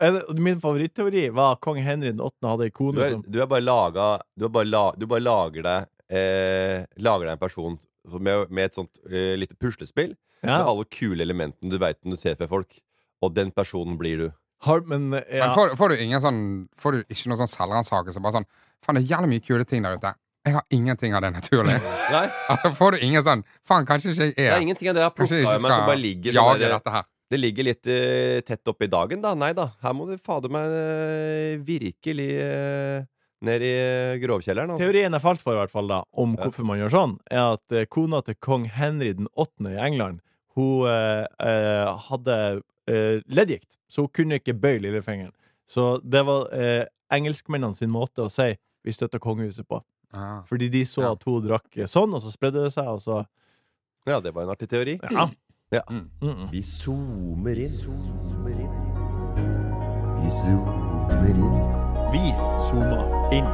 Speaker 1: En- Min favoritteori var at kong Henry 8. hadde ei
Speaker 3: du
Speaker 1: kone
Speaker 3: er,
Speaker 1: som
Speaker 3: du er bare laga Du, er bare, la, du bare lager deg eh, Lager deg en person som- med, med et sånt eh, lite puslespill
Speaker 1: Ja.
Speaker 3: med alle kule elementene du veit når du ser for folk. Og den personen blir du.
Speaker 1: Har, men, eh, ja.
Speaker 2: Men får, får du ingen sånn Får du ikke noen sånn selvransakelse? Bare sånn Faen, det er jævlig mye kule ting der ute. Jeg har ingenting av det naturlig.
Speaker 3: [laughs] Nei,
Speaker 2: får du ingen sånn Faen, kanskje ikke jeg
Speaker 3: det
Speaker 2: er
Speaker 3: er ingenting av det jeg har plukka
Speaker 2: Kanskje
Speaker 3: i
Speaker 2: jeg
Speaker 3: meg
Speaker 2: ikke
Speaker 3: som bare
Speaker 2: skal
Speaker 3: ligger sånn
Speaker 2: jage
Speaker 3: der,
Speaker 2: dette her.
Speaker 3: Det ligger litt eh, tett oppi dagen, da. Nei da. Her må du fader meg eh, virkelig eh, ned i eh, grovkjelleren. Altså.
Speaker 1: Teorien jeg falt for, i hvert fall da om hvorfor man gjør sånn, er at eh, kona til kong Henry den 8. i England Hun eh, eh, hadde eh, leddgikt, så hun kunne ikke bøye lillefingeren. Så det var eh, engelskmennene sin måte å si 'vi støtter kongehuset' på.
Speaker 2: Ja.
Speaker 1: Fordi de så
Speaker 2: Ja.
Speaker 1: at hun drakk eh, sånn, og så spredde det seg, og så
Speaker 3: Ja, det var en artig teori.
Speaker 1: Ja.
Speaker 3: Ja.
Speaker 1: Mm -mm.
Speaker 3: Vi zoomer inn. Zoomer inn.
Speaker 4: Vi zoomer inn.
Speaker 1: Vi zooma inn.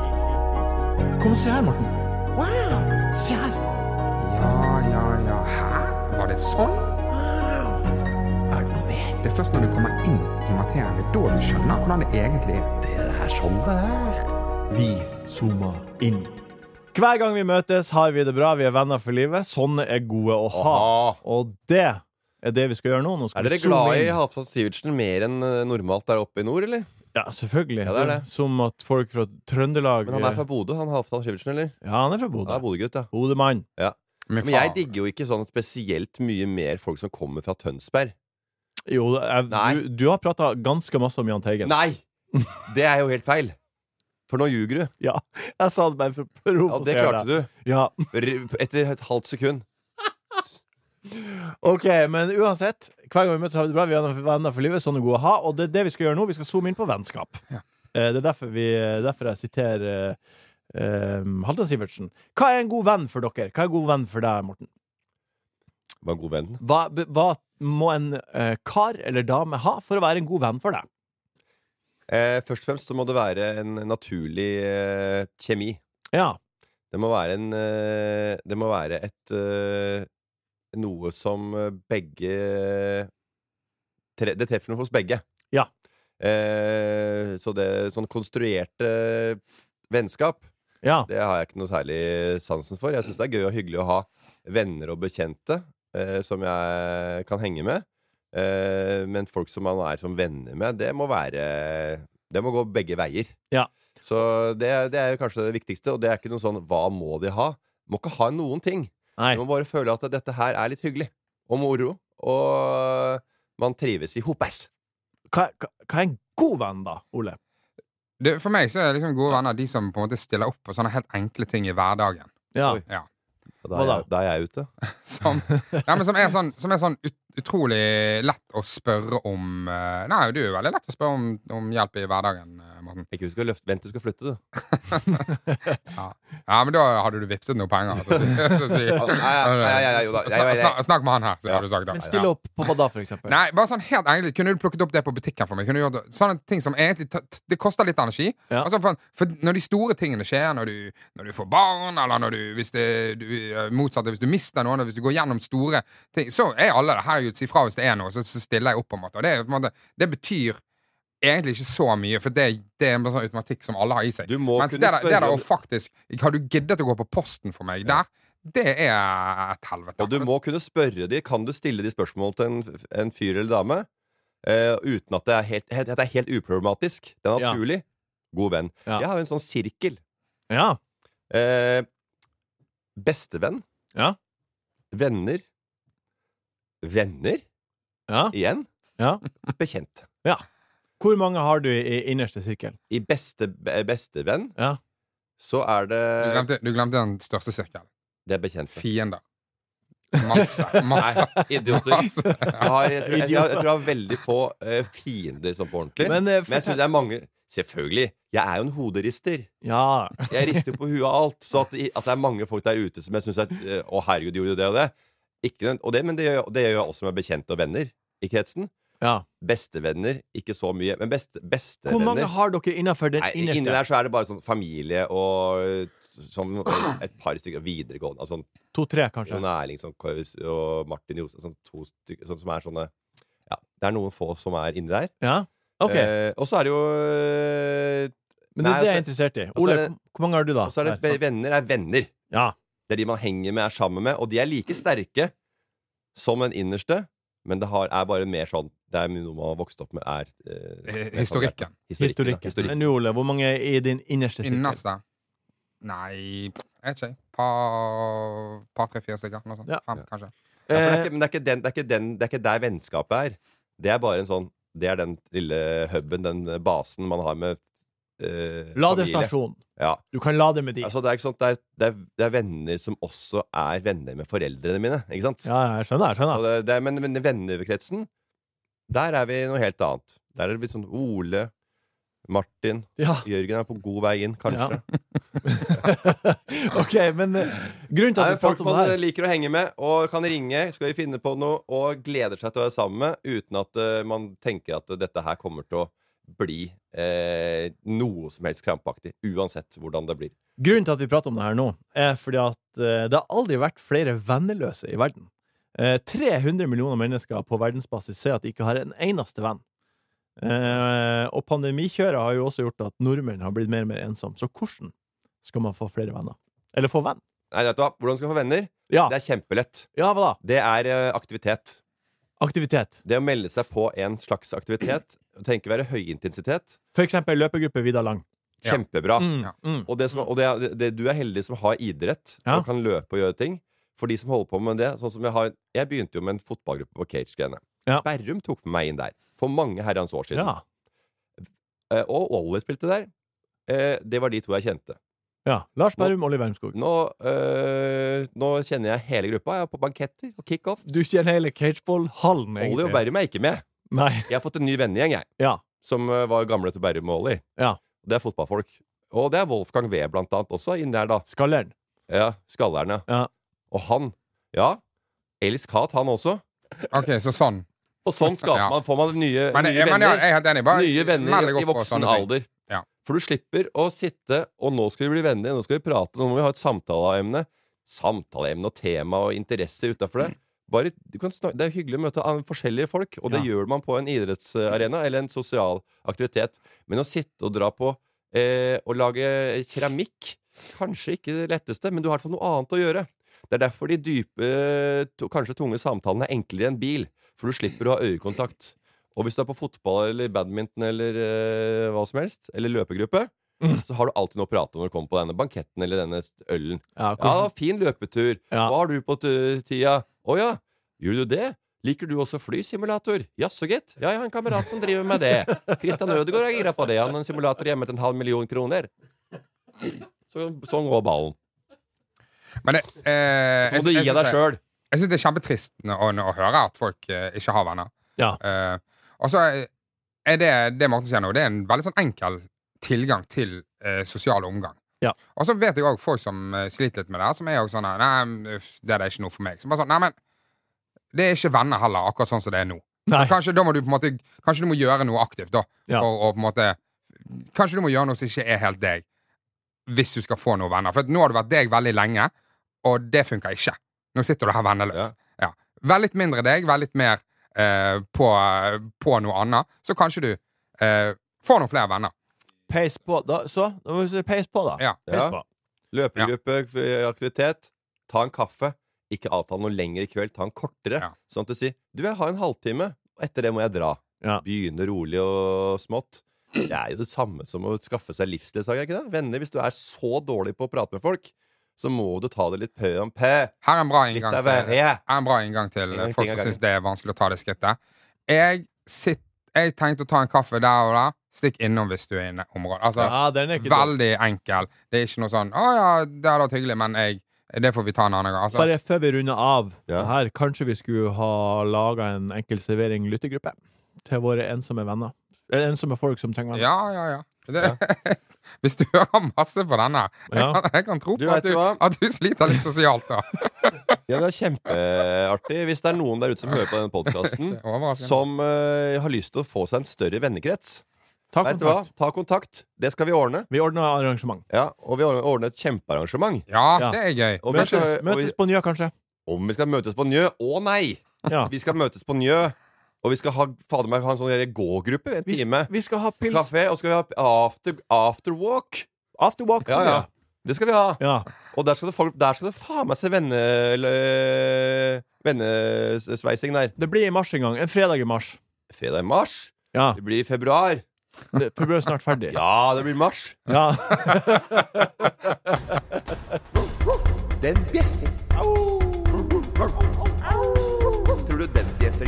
Speaker 1: Kom og se her, Morten. Wow! Se her.
Speaker 2: Ja, ja, ja. Hæ? Var det sånn?
Speaker 4: Er det noe mer?
Speaker 2: Det er først når du kommer inn i materien, det er da du skjønner hvordan det egentlig er.
Speaker 4: Det er sånn det er.
Speaker 1: Vi zooma inn. Hver gang vi møtes, har vi det bra. Vi er venner for livet. Sånne er gode å ha.
Speaker 3: Aha.
Speaker 1: Og det er det vi skal gjøre nå. nå skal
Speaker 3: Er dere
Speaker 1: vi zoome
Speaker 3: glad i
Speaker 1: inn.
Speaker 3: Halvdan Sivertsen mer enn eh, normalt der oppe i nord, eller?
Speaker 1: Ja, selvfølgelig.
Speaker 3: Ja, det er det.
Speaker 1: Som at folk fra Trøndelag
Speaker 3: Men han er fra Bodø, han Halvdan Sivertsen, eller?
Speaker 1: Ja, han er fra
Speaker 3: Han er
Speaker 1: Bodø.
Speaker 3: Bodø-gutt, ja.
Speaker 1: Hodemann.
Speaker 3: Men jeg digger jo ikke sånn spesielt mye mer folk som kommer fra Tønsberg.
Speaker 1: Jo, jeg,
Speaker 3: Nei.
Speaker 1: du, du har prata ganske masse om Jahn Teigen.
Speaker 3: Nei! Det er jo helt feil. For nå ljuger du.
Speaker 1: Ja, [laughs] jeg sa det bare for å
Speaker 3: Ja, det
Speaker 1: provosere
Speaker 3: klarte
Speaker 1: deg.
Speaker 3: du.
Speaker 1: Ja.
Speaker 3: R- Etter et halvt sekund.
Speaker 1: Ok, men uansett. Hver gang vi møtes, har vi det bra. Vi er venner for livet. Sånn er gode å ha. Og det er det vi skal gjøre nå. Vi skal zoome inn på vennskap. Eh, Det er derfor, vi, derfor jeg siterer eh, eh, Halvdan Sivertsen. Hva er en god venn for dere? Hva er en god venn for deg, Morten?
Speaker 3: Var en god venn.
Speaker 1: Hva, b- hva må en eh, kar eller dame ha for å være en god venn for deg?
Speaker 3: Eh, først og fremst så må det være en naturlig eh, kjemi.
Speaker 1: Ja.
Speaker 3: Det må være en eh, Det må være et eh, Noe som eh, begge tre, Det treffer noe hos begge.
Speaker 1: Ja.
Speaker 3: Eh, så det sånn konstruerte vennskap,
Speaker 1: Ja.
Speaker 3: det har jeg ikke noe særlig sansen for. Jeg syns det er gøy og hyggelig å ha venner og bekjente eh, som jeg kan henge med. Eh, men folk som man er som venner med, det må være Det må gå begge veier.
Speaker 1: Ja.
Speaker 3: Så det, det er jo kanskje det viktigste, og det er ikke noe sånn 'hva må de ha?' Må ikke ha noen ting.
Speaker 1: Nei.
Speaker 3: Du må bare føle at dette her er litt hyggelig og moro, og man trives i hopes.
Speaker 1: Hva, hva, hva er en god venn, da, Ole?
Speaker 2: det, For meg så er liksom gode venner de som på en måte stiller opp på sånne helt enkle ting i hverdagen.
Speaker 1: Ja.
Speaker 3: Oi.
Speaker 2: Ja.
Speaker 3: Og da
Speaker 1: Hva
Speaker 3: er,
Speaker 1: da?
Speaker 3: jeg, da er jeg ute.
Speaker 2: Som, ja, men som er sånn, som er sånn ut, utrolig lett å spørre om eh, Nei, du er jo veldig lett å spørre om, om hjelp i hverdagen, eh, Morten.
Speaker 3: Ikke husk å løfte, vent til du skal flytte, du.
Speaker 2: Ja, men da hadde du vippset noen penger. Så, si- så, si-
Speaker 3: Nei, nei, nei, nei, jo da. Jeg- jeg-
Speaker 2: Snak- snak- Snakk med han her, så
Speaker 3: Ja.
Speaker 2: har du sagt. da.
Speaker 1: Men stille opp på hva da, for eksempel?
Speaker 2: Nei, bare sånn helt egentlig Kunne du plukket opp det på butikken for meg? Kunne du gjort det- sånne ting som egentlig ta- t- Det koster litt energi.
Speaker 1: Ja.
Speaker 2: Altså, for, for når de store tingene skjer, når du, når du får barn, eller når du, hvis det, du eh, motsatte, hvis du mister noen, og hvis du går gjennom store ting, så er alle der. Herregud, si fra hvis det er noe, så, så stiller jeg opp, på en måte. Og det, er jo på en måte, det betyr egentlig ikke så mye, for det, det er en sånn automatikk som alle har i seg.
Speaker 3: Du må
Speaker 2: Mens
Speaker 3: kunne
Speaker 2: det der, det
Speaker 3: spørre
Speaker 2: der
Speaker 3: om-
Speaker 2: å faktisk Har du giddet å gå på posten for meg der? Det er et helvete. altså.
Speaker 3: Og du må kunne spørre de Kan du stille de spørsmål til en, en fyr eller dame eh, uten at det er helt, helt, at det er helt uproblematisk? Det er
Speaker 1: Ja.
Speaker 3: naturlig. God venn.
Speaker 1: Ja.
Speaker 3: Jeg har jo en sånn sirkel.
Speaker 1: Ja.
Speaker 3: Eh, bestevenn.
Speaker 1: Ja.
Speaker 3: Venner. Venner
Speaker 1: ja.
Speaker 3: igjen.
Speaker 1: Ja.
Speaker 3: Bekjent.
Speaker 1: Hvor mange har du i, i innerste sirkel?
Speaker 3: I beste, be- bestevenn
Speaker 1: Ja.
Speaker 3: så er det
Speaker 2: Du glemte, du glemte den største sirkelen.
Speaker 3: Det er bekjente.
Speaker 2: Fiender. Masse. Masse.
Speaker 3: [laughs] Nei, idioter. Jeg, har, jeg, tror, jeg, jeg, jeg tror jeg har veldig få eh, fiender sånn på ordentlig. Men,
Speaker 1: Men, eh,
Speaker 3: jeg synes det er mange Selvfølgelig. Jeg er jo en hoderister.
Speaker 1: Ja.
Speaker 3: Jeg rister på huet av alt. Så at, at det er mange folk der ute som jeg syns er eh, Å, herregud, gjorde du det og det? Ikke, den- og det, men det gjør, jeg- det gjør jeg også med bekjente og venner i kretsen.
Speaker 1: ja.
Speaker 3: Bestevenner, ikke så mye. Men beste, bestevenner
Speaker 1: Hvor mange har dere innafor den
Speaker 3: Nei,
Speaker 1: innerste?
Speaker 3: Inni der så er det bare sånn familie og eh, sånn, eh, et par stykker videregående. Altså, sånn
Speaker 1: To-tre, kanskje?
Speaker 3: Jon Erling sånn, Kaus og Martin Johnsen. Sånn, to stykker sånn, som er sånne Ja, det er noen få som er inni der.
Speaker 1: Ja? Ok.
Speaker 3: Eh, og så er det jo eh,
Speaker 1: Men det er det jeg
Speaker 3: nei,
Speaker 1: er
Speaker 3: altså-
Speaker 1: interessert i.
Speaker 3: så
Speaker 1: Ole,
Speaker 3: er det-
Speaker 1: hvor mange har du, da?
Speaker 3: Og så er det
Speaker 1: Nei,
Speaker 3: venner er venner.
Speaker 1: sånn. ja.
Speaker 3: Det er de man henger med, er sammen med, og de er like sterke som en innerste, men det har, er bare mer sånn Det er noe man har vokst opp med, er eh,
Speaker 2: Eh,
Speaker 3: mer
Speaker 2: [laughs] Historikken.
Speaker 3: sånn-
Speaker 1: Historikken.
Speaker 3: ja, historikken.
Speaker 1: Men du, Ole, hvor mange er i din innerste sirkel?
Speaker 2: Innerste. Nei, jeg vet ikke. Par, par tre, fire stykker. Noe sånt.
Speaker 1: Ja.
Speaker 2: Fem, kanskje.
Speaker 3: Ja, for det,
Speaker 1: Eh,
Speaker 3: er ikke, men det er ikke den, det er ikke den Det er ikke der vennskapet er. Det er bare en sånn Det er den lille huben, den basen man har med eh, familie.
Speaker 1: Ladestasjon.
Speaker 3: Ja.
Speaker 1: Du kan lade med de.
Speaker 3: Altså, det, er ikke sånn, det, er, det, er, det er venner som også er venner med foreldrene mine. Ikke sant?
Speaker 1: Ja, ja, jeg skjønner. jeg
Speaker 3: Så
Speaker 1: skjønner
Speaker 3: det, det er, men, men vennekretsen, der er vi noe helt annet. Der er det litt sånn Ole, Martin
Speaker 1: ja. [laughs]
Speaker 3: Jørgen er på god vei inn, kanskje.
Speaker 1: OK, men eh, grunnen til at
Speaker 3: Det er
Speaker 1: vi
Speaker 3: folk
Speaker 1: prater om
Speaker 3: man
Speaker 1: det her
Speaker 3: liker å henge med og kan ringe. Skal vi finne på noe og gleder seg til å være sammen med, uten at eh, man tenker at eh, dette her kommer til å bli eh, noe som helst krampaktig. Uansett hvordan det blir.
Speaker 1: Grunnen til at vi prater om det her nå, er fordi at eh, det har aldri vært flere venneløse i verden. Eh, 300 millioner mennesker på verdensbasis sier at de ikke har en eneste venn. Eh, og pandemikjøret har jo også gjort at nordmenn har blitt mer og mer ensomme. Så hvordan skal man få flere venner? Eller få venn?
Speaker 3: Nei, vet du hva? Hvordan skal man få venner?
Speaker 1: Ja,
Speaker 3: Det er kjempelett.
Speaker 1: ja hva da?
Speaker 3: Det er eh, aktivitet.
Speaker 1: Aktivitet.
Speaker 3: Det å melde seg på en slags aktivitet og tenke være høyintensitet,
Speaker 1: For eksempel løpegruppe Vidar Lang.
Speaker 2: Ja.
Speaker 3: kjempebra.
Speaker 1: Mm,
Speaker 2: Ja.
Speaker 1: mm.
Speaker 3: Og, det som, og det, er- det, du er heldig som har idrett
Speaker 1: Ja.
Speaker 3: og kan løpe og gjøre ting. For de som holder på med det sånn som Jeg har Jeg begynte jo med en fotballgruppe på Cage-grenet.
Speaker 1: Ja.
Speaker 3: Berrum tok med meg inn der for mange herrens år siden.
Speaker 1: Ja.
Speaker 3: Eh, og Ollie spilte der. Eh, det var de to jeg kjente.
Speaker 1: ja. Lars Berrum, Olli Wermskog.
Speaker 3: Nå, eh, nå kjenner jeg hele gruppa. Jeg er på banketter og kickoff.
Speaker 1: Du kjenner hele cageball-hallen,
Speaker 3: Ollie og
Speaker 1: egentlig.
Speaker 3: Berrum er ikke med.
Speaker 1: Nei.
Speaker 3: Jeg har fått en ny vennegjeng, jeg.
Speaker 1: Ja.
Speaker 3: Som eh, var gamle til Berrum og Ollie.
Speaker 1: Ja.
Speaker 3: Det er fotballfolk. Og det er Wolfgang V blant annet også inn der, da.
Speaker 1: Skalleren.
Speaker 3: Ja, Skalleren, ja.
Speaker 1: Ja.
Speaker 3: Og han. Ja. Elis Kat, han også.
Speaker 2: OK, så sånn.
Speaker 3: Og
Speaker 2: [laughs]
Speaker 3: sånn skaper
Speaker 2: Ja.
Speaker 3: man, får man nye,
Speaker 2: Men,
Speaker 3: nye
Speaker 2: men ja,
Speaker 3: venner.
Speaker 2: jeg er helt enig. Bare
Speaker 3: nye venner
Speaker 2: meld deg
Speaker 3: i
Speaker 2: opp på
Speaker 3: voksen
Speaker 2: sånne ting.
Speaker 3: alder.
Speaker 2: Ja.
Speaker 3: For du slipper å sitte og 'nå skal vi bli venner', 'nå skal vi prate', 'nå må vi ha et samtaleemne'. Samtaleemne og tema og interesse utafor det. Bare, du kan snak- det er hyggelig å møte an- forskjellige folk, og det
Speaker 1: Ja.
Speaker 3: gjør man på en idrettsarena eller en sosial aktivitet. Men å sitte og dra på eh, og lage keramikk Kanskje ikke det letteste, men du har i hvert fall noe annet å gjøre. Det er derfor de dype, eh, to- kanskje tunge samtalene er enklere enn bil, for du slipper å ha øyekontakt. Og hvis du er på fotball eller badminton eller eh, hva som helst, eller løpegruppe,
Speaker 1: Mm.
Speaker 3: så har du alltid noe å prate om når du kommer på denne banketten eller denne ølen.
Speaker 1: Ja,
Speaker 3: Ja,
Speaker 1: hvordan-
Speaker 3: fin løpetur.
Speaker 1: Ja.
Speaker 3: Hva har du på t- tida? Å ja, gjør du det? Liker du også flysimulator? Jaså, gitt. Ja, jeg har en kamerat som driver med det. Christian Ødegaard er gira på det. Han har en simulator hjemme til en halv million kroner. Så, sånn går ballen.
Speaker 2: Men det,
Speaker 3: Så må
Speaker 2: eh, jeg-
Speaker 3: du
Speaker 2: jeg
Speaker 3: gi
Speaker 2: synes
Speaker 3: deg
Speaker 2: det-
Speaker 3: sjøl.
Speaker 2: Jeg syns det er kjempetrist å, å høre at folk eh, ikke har venner.
Speaker 1: Ja.
Speaker 2: Eh, og så er det det Morten sier nå, det er en veldig sånn enkel tilgang til eh, sosial omgang.
Speaker 1: Ja.
Speaker 2: Og så vet jeg òg folk som eh, sliter litt med det, her, som er jo sånn her, Nei, uff, det er ikke noe for meg. Så bare sånn, nei, men det er ikke venner heller, akkurat sånn som det er nå.
Speaker 1: Nei.
Speaker 2: Kanskje da må du på en måte Kanskje du må gjøre noe aktivt, da.
Speaker 1: Ja.
Speaker 2: For å på en måte Kanskje du må gjøre noe som ikke er helt deg, hvis du skal få noen venner. For at nå har du vært deg veldig lenge, og det funker ikke. Nå sitter du her venneløs.
Speaker 3: Ja.
Speaker 2: Ja. Vær litt mindre deg, vær litt mer eh, på, på noe annet. Så kanskje du eh, får noen flere venner.
Speaker 1: Peis på. Da, så, da må vi si peis på, da.
Speaker 2: Ja.
Speaker 1: Peis
Speaker 3: Ja.
Speaker 1: på.
Speaker 3: Løpegruppe, f- aktivitet. Ta en kaffe. Ikke avtale noe lenger i kveld, ta en kortere.
Speaker 2: Ja.
Speaker 3: Sånn at du sier 'du, jeg har en halvtime, og etter det må jeg dra'.
Speaker 1: Ja.
Speaker 3: Begynne rolig og smått. Det er jo det samme som å skaffe seg livsledsager, er ikke det? Venner, hvis du er så dårlig på å prate med folk, så må du ta det litt pø om pø.
Speaker 2: Her er en bra
Speaker 3: Litt
Speaker 2: inngang
Speaker 3: av
Speaker 2: til, her
Speaker 3: verre.
Speaker 2: er en bra inngang til
Speaker 3: En ting
Speaker 2: folk
Speaker 3: av
Speaker 2: som
Speaker 3: gangen.
Speaker 2: syns det er vanskelig å ta det skrittet. Jeg, sitt, jeg tenkte å ta en kaffe der og da. Stikk innom hvis du er i en område. Altså,
Speaker 1: Ja, den er ikke dum.
Speaker 2: Veldig enkel. Det er ikke noe sånn 'Å ja, det hadde vært hyggelig, men jeg, det får vi ta en annen gang'. Altså,
Speaker 1: Bare før vi runder av
Speaker 3: Ja.
Speaker 1: her, kanskje vi skulle ha laga en enkel servering lyttergruppe til våre ensomme venner. Eller ensomme folk som trenger venner.
Speaker 2: ja, ja, ja. Det, [laughs] Hvis du hører masse på denne jeg,
Speaker 1: Ja.
Speaker 2: kan, jeg kan tro
Speaker 3: Du
Speaker 2: på at
Speaker 3: vet
Speaker 2: du,
Speaker 3: hva?
Speaker 2: at du sliter litt
Speaker 1: [laughs]
Speaker 2: sosialt, da.
Speaker 3: Ja, det er kjempeartig. Hvis det er noen der ute som hører på denne podkasten,
Speaker 2: Ikke overraskende.
Speaker 3: som eh, har lyst til å få seg en større vennekrets,
Speaker 1: Ta
Speaker 3: vet du hva?
Speaker 1: kontakt.
Speaker 3: ta kontakt. Det skal vi ordne.
Speaker 1: Vi ordner arrangement.
Speaker 3: Ja, og vi ordner- ordner et kjempearrangement.
Speaker 2: Ja,
Speaker 1: Ja.
Speaker 2: det er gøy.
Speaker 3: Og vi
Speaker 1: Møtes,
Speaker 3: skal- og vi-
Speaker 1: møtes på Nya,
Speaker 3: [laughs]
Speaker 1: kanskje.
Speaker 3: Om vi skal møtes på Njø? Å nei!
Speaker 1: Ja.
Speaker 3: Vi skal møtes på Njø, og vi skal ha, fader meg, ha en sånn der gågruppe. En
Speaker 1: Vi,
Speaker 3: time.
Speaker 1: vi skal ha pils.
Speaker 3: Kafé, og skal vi ha after, after walk.
Speaker 1: Afterwalk.
Speaker 3: Ja, ja. Det skal vi ha.
Speaker 1: Ja.
Speaker 3: Og der skal det, folk, der skal det faen meg se venne... eller, Vennesveising der.
Speaker 1: Det blir i mars en gang. En fredag i mars.
Speaker 3: Fredag i mars. [laughs]
Speaker 1: Ja.
Speaker 3: Det blir i februar.
Speaker 1: Det vi blir snart ferdig.
Speaker 3: Ja, det blir mars.
Speaker 1: Ja.
Speaker 4: Den bjeffer. Tror du den bjeffer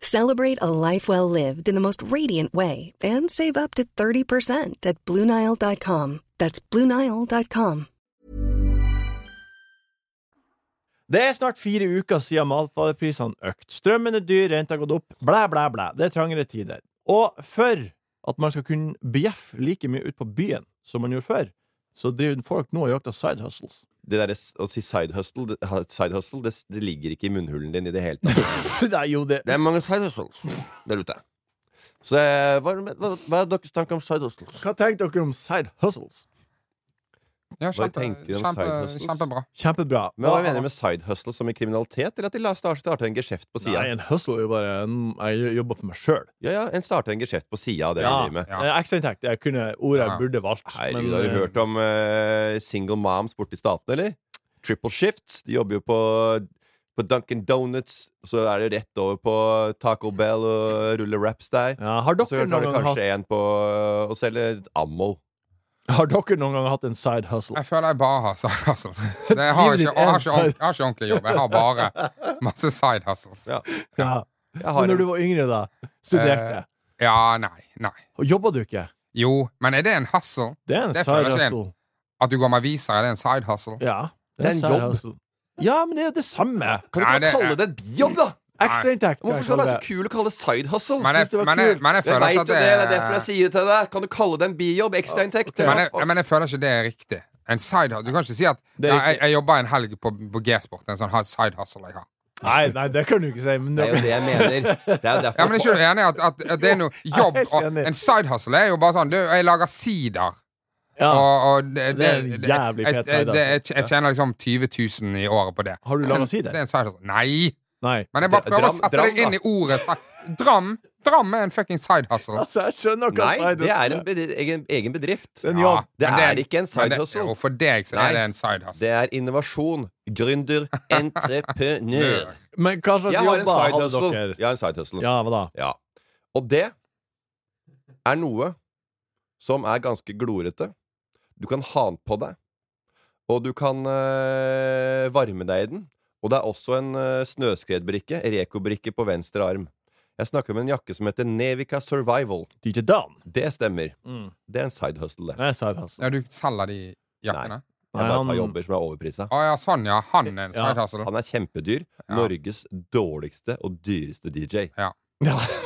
Speaker 5: Celebrate a life well lived in the most radiant way and save up to 30% at BlueNile.com. That's BlueNile.com.
Speaker 1: Det er snart fire uker siden matvareprisene økt. Strømmen er dyr, renta har gått opp, blæ, blæ, blæ. Det er trangere tider. Og for at man skal kunne bjeffe like mye ut på byen som man gjorde før, så driver folk nå og jakter side hustles. [laughs]
Speaker 3: Det der å si side hustle, det, ha- side hustle det, det ligger ikke i munnhulen din i det hele tatt.
Speaker 1: Nei, jo, det
Speaker 3: Det er mange side hustles der ute. Så eh, hva, hva, hva er deres tanker om side hustles?
Speaker 1: Hva tenkte dere om side hustles?
Speaker 2: Ja,
Speaker 3: Hva
Speaker 2: kjempe,
Speaker 3: tenker du om
Speaker 2: kjempe,
Speaker 3: side hustles?
Speaker 2: kjempebra.
Speaker 1: Kjempebra.
Speaker 3: Men Hva mener du med side hustle som i kriminalitet, eller at de la- starter starter en geskjeft på
Speaker 1: Nei,
Speaker 3: sida?
Speaker 1: en hustle er jo bare en- Jeg jobber for meg sjøl.
Speaker 3: Ja, ja, en starter en geskjeft på sida av det vi driver med.
Speaker 2: Ja.
Speaker 1: Ekstrainntekt. Jeg kunne ordet jeg
Speaker 2: Ja.
Speaker 1: burde valgt.
Speaker 3: Herregud,
Speaker 1: eh,
Speaker 3: har du hørt om eh, single moms borte i staten, eller? Triple shifts. De jobber jo på, på Dunkin' Donuts, så er det rett over på Taco Bell og rulle wraps der.
Speaker 1: Ja, har,
Speaker 3: Og så
Speaker 1: dere
Speaker 3: har du
Speaker 1: noen gang
Speaker 3: kanskje
Speaker 1: hatt,
Speaker 3: en på eh, å selge ammo.
Speaker 1: har dere noen gang hatt en side hustle?
Speaker 2: Jeg føler jeg bare har side hustles.
Speaker 1: [laughs]
Speaker 2: Det, jeg, har
Speaker 1: Livet
Speaker 2: ikke,
Speaker 1: ditt
Speaker 2: jeg,
Speaker 1: er en
Speaker 2: har ikke,
Speaker 1: side-
Speaker 2: jeg har ikke ordentlig jobb. Jeg har bare
Speaker 1: [laughs]
Speaker 2: masse side hustles.
Speaker 3: Ja. Eh,
Speaker 1: Ja.
Speaker 3: Jeg
Speaker 1: Men
Speaker 3: har
Speaker 1: når du
Speaker 3: en,
Speaker 1: var yngre, da? Studerte?
Speaker 2: Ja, nei, nei.
Speaker 1: Og jobba du ikke?
Speaker 2: Jo, men er det en hustle?
Speaker 1: Det er en
Speaker 2: Det
Speaker 1: side
Speaker 2: føler jeg ikke
Speaker 1: hustle.
Speaker 2: At du går med aviser, er det en side hustle?
Speaker 1: Ja,
Speaker 3: Det er en
Speaker 1: side
Speaker 3: jobb.
Speaker 1: hustle. Ja, men det er jo det samme.
Speaker 3: kan du ikke
Speaker 2: Nei,
Speaker 3: bare
Speaker 2: det er-
Speaker 3: kalle det en bijobb, da?
Speaker 1: Ekstrainntekt.
Speaker 3: Hvorfor skal det være så kul å kalle det side hustle?
Speaker 2: Men jeg,
Speaker 1: det var
Speaker 2: men jeg,
Speaker 1: kult.
Speaker 2: men jeg
Speaker 3: jeg
Speaker 2: føler
Speaker 3: vet
Speaker 2: ikke
Speaker 3: jo
Speaker 2: at
Speaker 3: det,
Speaker 2: det
Speaker 3: det er derfor jeg sier det til deg. Kan du kalle det en bijobb? Ekstrainntekt?
Speaker 1: Ok.
Speaker 3: eller
Speaker 2: men jeg,
Speaker 3: hva faen?
Speaker 2: men jeg føler ikke det er riktig. En side hustle Du kan ikke si at
Speaker 1: Det er
Speaker 2: ja, jeg,
Speaker 1: riktig.
Speaker 2: jeg jobba en helg på, på G-sport. En sånn side hustle jeg har.
Speaker 1: Nei, nei, det kan du ikke si. Men
Speaker 3: Det
Speaker 1: det,
Speaker 3: er jo det jeg mener. [laughs] Det er jo
Speaker 2: Ja, men er
Speaker 3: derfor
Speaker 2: ikke du enig i at, at, at det
Speaker 1: [laughs]
Speaker 2: er noe jobb?
Speaker 1: helt
Speaker 2: Og,
Speaker 1: enig.
Speaker 2: en side hustle er jo bare sånn du, Jeg lager sider.
Speaker 1: ja.
Speaker 2: Og, og det,
Speaker 1: Det er en jævlig fet
Speaker 2: jeg-
Speaker 1: side hustle.
Speaker 2: det- jeg, jeg tjener liksom 20 000 i året på det.
Speaker 1: Har du
Speaker 2: Det er en-
Speaker 1: laget sider?
Speaker 2: Det er en side hustle. Nei!
Speaker 1: Nei.
Speaker 2: Men jeg bare
Speaker 3: Dra-
Speaker 2: prøver å
Speaker 3: Dram-
Speaker 2: sette
Speaker 3: Dram,
Speaker 2: deg inn i ordet si- Dram Dram er en fucking side hustle.
Speaker 1: Altså, jeg skjønner hva
Speaker 3: Nei,
Speaker 1: side
Speaker 3: det er en
Speaker 1: hustle
Speaker 3: bedri- egen, egen bedrift.
Speaker 1: En jobb.
Speaker 3: Det
Speaker 2: men
Speaker 3: er ikke en side
Speaker 2: men det-
Speaker 3: hustle.
Speaker 2: Jo, altså. for deg så
Speaker 3: Nei.
Speaker 2: er det en side hustle.
Speaker 3: Det er innovasjon,
Speaker 2: [laughs]
Speaker 3: gründer, entreprenør.
Speaker 1: Men hva slags
Speaker 3: Jeg har en
Speaker 1: jobber
Speaker 3: side
Speaker 1: hadde
Speaker 3: hustle.
Speaker 1: dere?
Speaker 3: Jeg har en side hustle.
Speaker 1: Ja, hva da?
Speaker 3: Ja. Og det er noe som er ganske glorete. Du kan ha den på deg, og du kan eh, varme deg i den. Og det er også en eh, snøskredbrikke, Reko-brikke, på venstre arm. Jeg snakker om en jakke som heter Nevica Survival.
Speaker 1: DJ Dan.
Speaker 3: Det stemmer.
Speaker 1: Mm.
Speaker 3: Det er en side hustle, det.
Speaker 1: Det er side hustle.
Speaker 2: Ja, du selger de jakkene?
Speaker 3: Jeg
Speaker 1: Nei,
Speaker 3: bare
Speaker 1: han-
Speaker 3: tar jobber som er overprisa.
Speaker 2: Å ja, sånn ja. Han er en
Speaker 1: Ja,
Speaker 2: side hustle.
Speaker 3: Han er kjempedyr.
Speaker 2: Ja.
Speaker 3: Norges dårligste og dyreste DJ.
Speaker 1: Ja.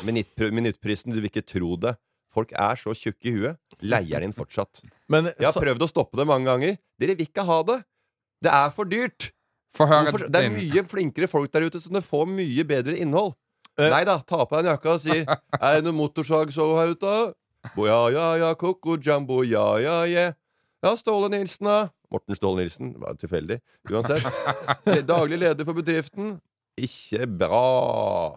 Speaker 3: Minuttpr- Minuttprisen, du vil ikke tro det. Folk er så tjukke i huet. Leier den fortsatt.
Speaker 1: Men
Speaker 3: Jeg har
Speaker 1: sa-
Speaker 3: prøvd å stoppe det mange ganger. Dere vil ikke ha det. Det er for dyrt.
Speaker 2: Få høre
Speaker 3: Hvorfor, det er
Speaker 2: din.
Speaker 3: mye flinkere folk der ute, så dere får mye bedre innhold.
Speaker 1: Eh.
Speaker 3: Nei da, ta på deg en jakka og
Speaker 1: [laughs]
Speaker 3: sier 'Er det noe motorsagshow her ute?' Boja, ja, ja, koko, jumbo, ja, ja, ja. Ja, Ståle Nilsen, da. Morten Ståle Nilsen. Var tilfeldig.
Speaker 1: [laughs]
Speaker 3: Uansett. Daglig leder for bedriften. Ikke bra.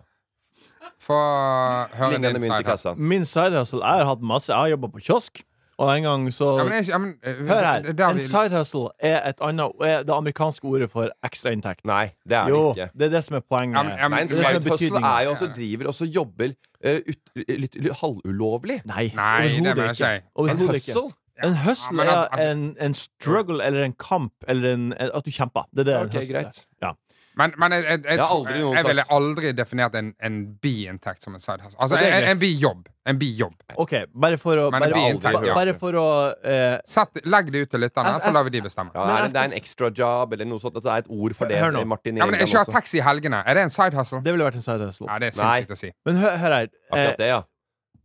Speaker 2: Få høre
Speaker 3: Lignende
Speaker 2: din
Speaker 3: mynt i
Speaker 2: side hustle.
Speaker 3: kassa.
Speaker 1: Min side hustle Jeg har hatt masse. Jeg har jobba på kiosk, og en gang så
Speaker 2: Ja, men, det er ikke- ja, men, eh,
Speaker 1: Hør
Speaker 2: det-
Speaker 1: her.
Speaker 2: det er
Speaker 1: En
Speaker 2: vi-
Speaker 1: side hustle er, et annet, er det amerikanske ordet for ekstrainntekt.
Speaker 3: Nei, det er det
Speaker 1: Jo,
Speaker 3: ikke.
Speaker 1: det er det som er poenget.
Speaker 2: Ja, men- ja, men-
Speaker 3: Nei, en
Speaker 1: det er det som er
Speaker 3: side hustle
Speaker 1: betydningen.
Speaker 3: er jo at du driver og så jobber eh, ut, litt, litt halvulovlig.
Speaker 1: Nei,
Speaker 2: Nei,
Speaker 1: overhodet
Speaker 2: det mener jeg ikke.
Speaker 3: En
Speaker 1: Overhodet ikke.
Speaker 3: hustle?
Speaker 1: En hustle
Speaker 2: men at-
Speaker 1: er en, en struggle eller en kamp eller en, en- at du kjemper. Det er det en
Speaker 3: Ok,
Speaker 1: hustle er.
Speaker 3: greit.
Speaker 1: Ja.
Speaker 2: Men, men jeg, jeg, jeg,
Speaker 3: Jeg har
Speaker 2: tror-
Speaker 3: aldri
Speaker 2: jeg,
Speaker 3: noen
Speaker 2: jeg
Speaker 3: sagt-
Speaker 2: ville aldri definert en, en biinntekt som en side hustle. Altså
Speaker 1: Og det er
Speaker 2: en,
Speaker 1: greit.
Speaker 2: en bijobb. En bijobb.
Speaker 1: OK, bare for å
Speaker 2: Men
Speaker 1: Bare,
Speaker 2: det blir
Speaker 1: aldri,
Speaker 2: inntekt,
Speaker 1: ba-
Speaker 3: ja.
Speaker 1: bare for å eh,
Speaker 2: Sett, legg det ut til lytterne,
Speaker 1: Jeg-
Speaker 2: så
Speaker 1: jeg-
Speaker 2: lar vi de bestemme.
Speaker 3: Ja,
Speaker 1: Men
Speaker 3: er
Speaker 1: jeg
Speaker 3: det, det er en
Speaker 1: skal-
Speaker 3: extra job eller noe sånt? Altså, det er et ord for det.
Speaker 1: Hør nå.
Speaker 3: Martin
Speaker 2: Ja, men jeg
Speaker 3: Eggen
Speaker 2: kjører
Speaker 3: også.
Speaker 2: taxi i helgene. Er det en side hustle?
Speaker 1: Det ville vært en side hustle.
Speaker 2: Nei, det er sinnssykt å si.
Speaker 1: Men hør, hør her. Eh,
Speaker 3: Akkurat det, ja.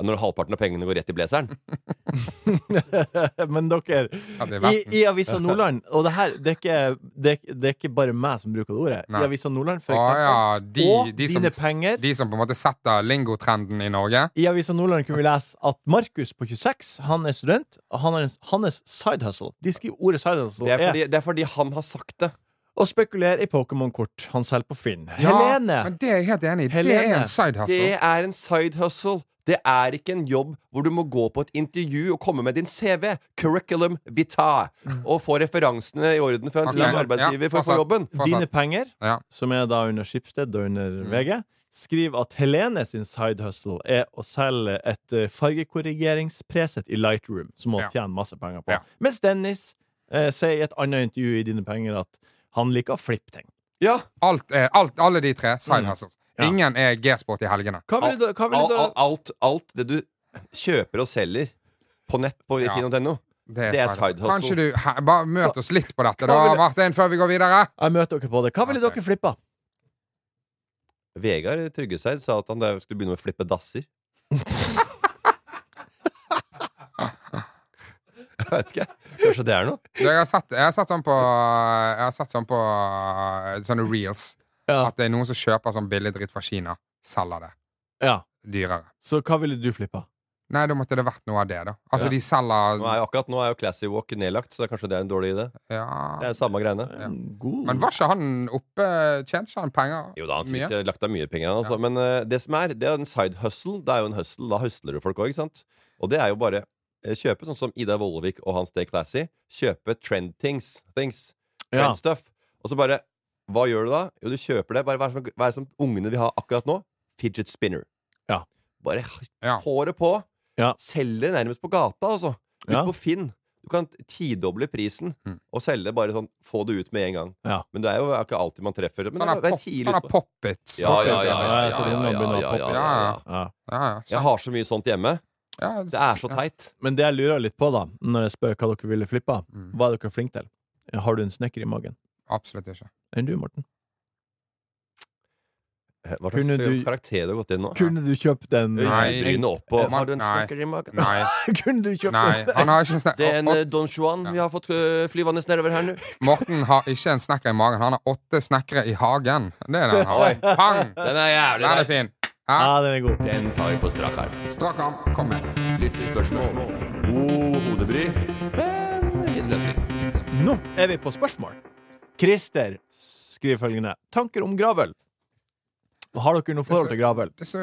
Speaker 3: Når halvparten av pengene går rett i blazeren.
Speaker 1: Eh, [laughs] Men dere,
Speaker 2: Ja, det er
Speaker 1: i,
Speaker 2: versten.
Speaker 1: i Avisa Nordland Og det her, det er ikke, det er, det er ikke bare meg som bruker det ordet.
Speaker 2: Nei.
Speaker 1: I Avisa Nordland, for
Speaker 2: Å
Speaker 1: eksempel.
Speaker 2: ja, de,
Speaker 1: og
Speaker 2: de, som,
Speaker 1: dine penger.
Speaker 2: de som på en måte setter lingotrenden i Norge.
Speaker 1: I Avisa Nordland kunne vi lese at Markus på 26, han er student, og han har en, hans side hustle De skriver ordet side hustle
Speaker 3: Det er
Speaker 1: er
Speaker 3: fordi, det er fordi han har sagt det.
Speaker 1: å spekulere i Pokémon-kort han selger på Finn.
Speaker 2: Ja,
Speaker 1: Helene!
Speaker 2: men det er jeg helt enig i. Det er
Speaker 1: Helene.
Speaker 2: en side
Speaker 3: Det
Speaker 2: hustle.
Speaker 3: er en side hustle. Det er ikke en jobb hvor du må gå på et intervju og komme med din CV, curriculum vitae, og få referansene i orden fra en
Speaker 2: Ok,
Speaker 3: okay.
Speaker 2: ja,
Speaker 3: arbeidsgiver for å få
Speaker 2: fortsatt.
Speaker 3: jobben.
Speaker 1: Dine penger,
Speaker 2: Ja. Mm.
Speaker 1: som er da under Skipsted og under VG, skriver at Helene sin side hustle er å selge et eh, fargekorrigeringspreset i Lightroom, som hun
Speaker 2: Ja.
Speaker 1: tjener masse penger på.
Speaker 2: Ja.
Speaker 1: Mens Dennis eh, sier i et annet intervju i Dine penger at han liker å flippe ting.
Speaker 3: Ja,
Speaker 2: Alt er, alt, alle de tre side
Speaker 1: Mm.
Speaker 2: hustles.
Speaker 1: Ja.
Speaker 2: Ingen er G-sport i helgene.
Speaker 1: Hva ville du, hva ville
Speaker 3: alt,
Speaker 1: du
Speaker 3: alt, alt, alt det du kjøper og selger på nett på
Speaker 2: Ja.
Speaker 3: finn.no.
Speaker 2: Det
Speaker 3: Det er side hustle.
Speaker 2: Kanskje du he, bare møt oss litt på dette, da,
Speaker 1: vil du-
Speaker 2: Martin, før vi går videre?
Speaker 1: Jeg møter dere på det. Hva ville
Speaker 2: Ok.
Speaker 1: dere flippa?
Speaker 3: Vegard Tryggeseid sa at han der skulle begynne å flippe dasser. Jeg vet ikke. Kanskje det er noe?
Speaker 2: Jeg har sett, jeg har sett sånn på Jeg har sett sånn på eh, sånne reels.
Speaker 1: Ja.
Speaker 2: At det er noen som kjøper sånn billig dritt fra Kina, selger det
Speaker 1: Ja.
Speaker 2: dyrere.
Speaker 1: Så hva ville du flippa?
Speaker 2: Nei, da måtte det vært noe av det, da. Altså,
Speaker 3: Ja.
Speaker 2: de
Speaker 3: Nå er
Speaker 2: selger
Speaker 3: jo akkurat nå er jo Classy Walk nedlagt, så det er kanskje det er en dårlig idé. Det
Speaker 2: Ja.
Speaker 3: er jo samme greiene.
Speaker 1: God.
Speaker 2: Men var ikke han oppe Tjente ikke han penger?
Speaker 3: Jo da, han har
Speaker 2: Mye?
Speaker 3: sikkert lagt av mye penger, han, altså. men eh, det som er, det er en side hustle. Det er jo en hustle, Da hustler du folk òg, ikke sant? Og det er jo bare eh, kjøpe sånn som Ida Vollevik og hans Stay Classy. Kjøpe trend things. things
Speaker 1: Ja.
Speaker 3: trend stuff. Og så bare Hva gjør du da? Jo, du kjøper det. Bare hva er det som, hva er det som ungene vil ha akkurat nå? Fidget spinner.
Speaker 1: Ja.
Speaker 3: Bare
Speaker 2: Ja.
Speaker 3: håret på.
Speaker 1: Ja.
Speaker 3: Selger det nærmest på gata, altså. Ut
Speaker 1: Ja.
Speaker 3: på Finn. Du kan tidoble prisen
Speaker 2: Mm.
Speaker 3: og selge det bare sånn Få det ut med en gang.
Speaker 1: Ja.
Speaker 3: Men det er jo ikke alltid man treffer. Men det
Speaker 2: Sånne
Speaker 3: Sånn er- det er
Speaker 2: pop-
Speaker 3: tidlig
Speaker 2: sånne
Speaker 3: på-
Speaker 2: pop-its.
Speaker 3: ja, ja, ja, ja,
Speaker 1: Ja,
Speaker 3: ja,
Speaker 1: så det
Speaker 3: ja,
Speaker 1: må begynne å
Speaker 3: ja, ja,
Speaker 1: poppe.
Speaker 3: ja, ja.
Speaker 1: Ja.
Speaker 2: Ja, ja,
Speaker 3: Jeg har så mye sånt hjemme.
Speaker 2: ja,
Speaker 3: Det er så teit.
Speaker 1: Men det jeg lurer litt på, da, når jeg spør hva dere ville flippa,
Speaker 3: Mm.
Speaker 1: hva er dere flinke til? Har du en snekker i magen?
Speaker 2: Absolutt ikke.
Speaker 1: Enn du, Morten?
Speaker 3: Hva
Speaker 1: Kunne
Speaker 3: slags
Speaker 1: du-
Speaker 3: karakter du har gått inn nå?
Speaker 1: Kunne du kjøpt en
Speaker 2: Nei.
Speaker 3: Bryne opp og
Speaker 2: Man-
Speaker 3: Har du en
Speaker 2: nei.
Speaker 3: snekker i magen? [laughs]
Speaker 2: Nei,
Speaker 1: [laughs] Kunne du kjøpt
Speaker 2: nei.
Speaker 1: en
Speaker 2: Han har
Speaker 3: Det
Speaker 2: ikke en
Speaker 3: er
Speaker 2: snekker
Speaker 3: en eh, Don Juan vi har fått øh, flyvende nedover her nå.
Speaker 2: Morten har ikke en snekker i magen. Han har åtte snekkere i hagen. Det er den han har.
Speaker 3: [laughs]
Speaker 2: Pang!
Speaker 3: Den er jævlig
Speaker 2: Den
Speaker 3: der.
Speaker 2: er fin.
Speaker 1: Ja,
Speaker 2: Ja.
Speaker 1: den er god.
Speaker 3: Den tar vi på strak arm.
Speaker 2: Strak arm. Kom med.
Speaker 3: Lyttespørsmål. God hodebry. Men fin løsning.
Speaker 1: Nå er vi på spørsmål. Christer skriver følgende. Tanker om gravel. Har dere noe forhold til gravel?
Speaker 2: Det er så,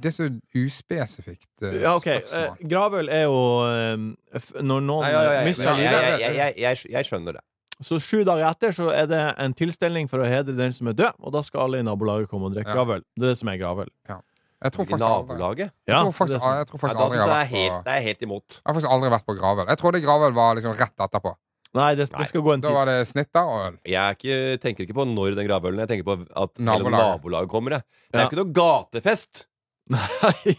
Speaker 2: det er så uspesifikt eh,
Speaker 1: Ja, OK. Eh,
Speaker 2: spørsmål.
Speaker 1: gravel er jo eh, f- Når noen
Speaker 3: Nei, ja, ja, ja,
Speaker 1: mister
Speaker 3: ja,
Speaker 1: livet
Speaker 3: ja, ja, ja, ja, jeg- Jeg skjønner det.
Speaker 1: Så sju dager etter så er det en tilstelning for å hedre den som er død, og da skal alle i nabolaget komme og drikke
Speaker 2: Ja.
Speaker 1: gravel. Det er det som er gravel.
Speaker 2: Jeg tror
Speaker 3: I
Speaker 2: faktisk aldri jeg
Speaker 3: nabolaget?
Speaker 2: tror faktisk,
Speaker 1: det er sånn.
Speaker 2: jeg tror
Speaker 3: Ja,
Speaker 2: faktisk
Speaker 3: da
Speaker 2: aldri
Speaker 3: syns jeg det
Speaker 2: jeg har
Speaker 3: er
Speaker 2: vært på
Speaker 3: helt- det er helt imot.
Speaker 2: Jeg har faktisk aldri vært på Gravel. Jeg trodde Gravel var liksom rett etterpå.
Speaker 1: Nei, det, det skal gå en
Speaker 3: [laughs]
Speaker 2: Da
Speaker 1: tid.
Speaker 2: var det snitter og øl.
Speaker 3: Jeg er ikke, tenker ikke på når den gravølen Jeg tenker på at hele
Speaker 2: Nabolaget.
Speaker 3: nabolaget kommer. Jeg. Det er
Speaker 1: Ja.
Speaker 3: ikke noe gatefest!
Speaker 1: [laughs] Nei.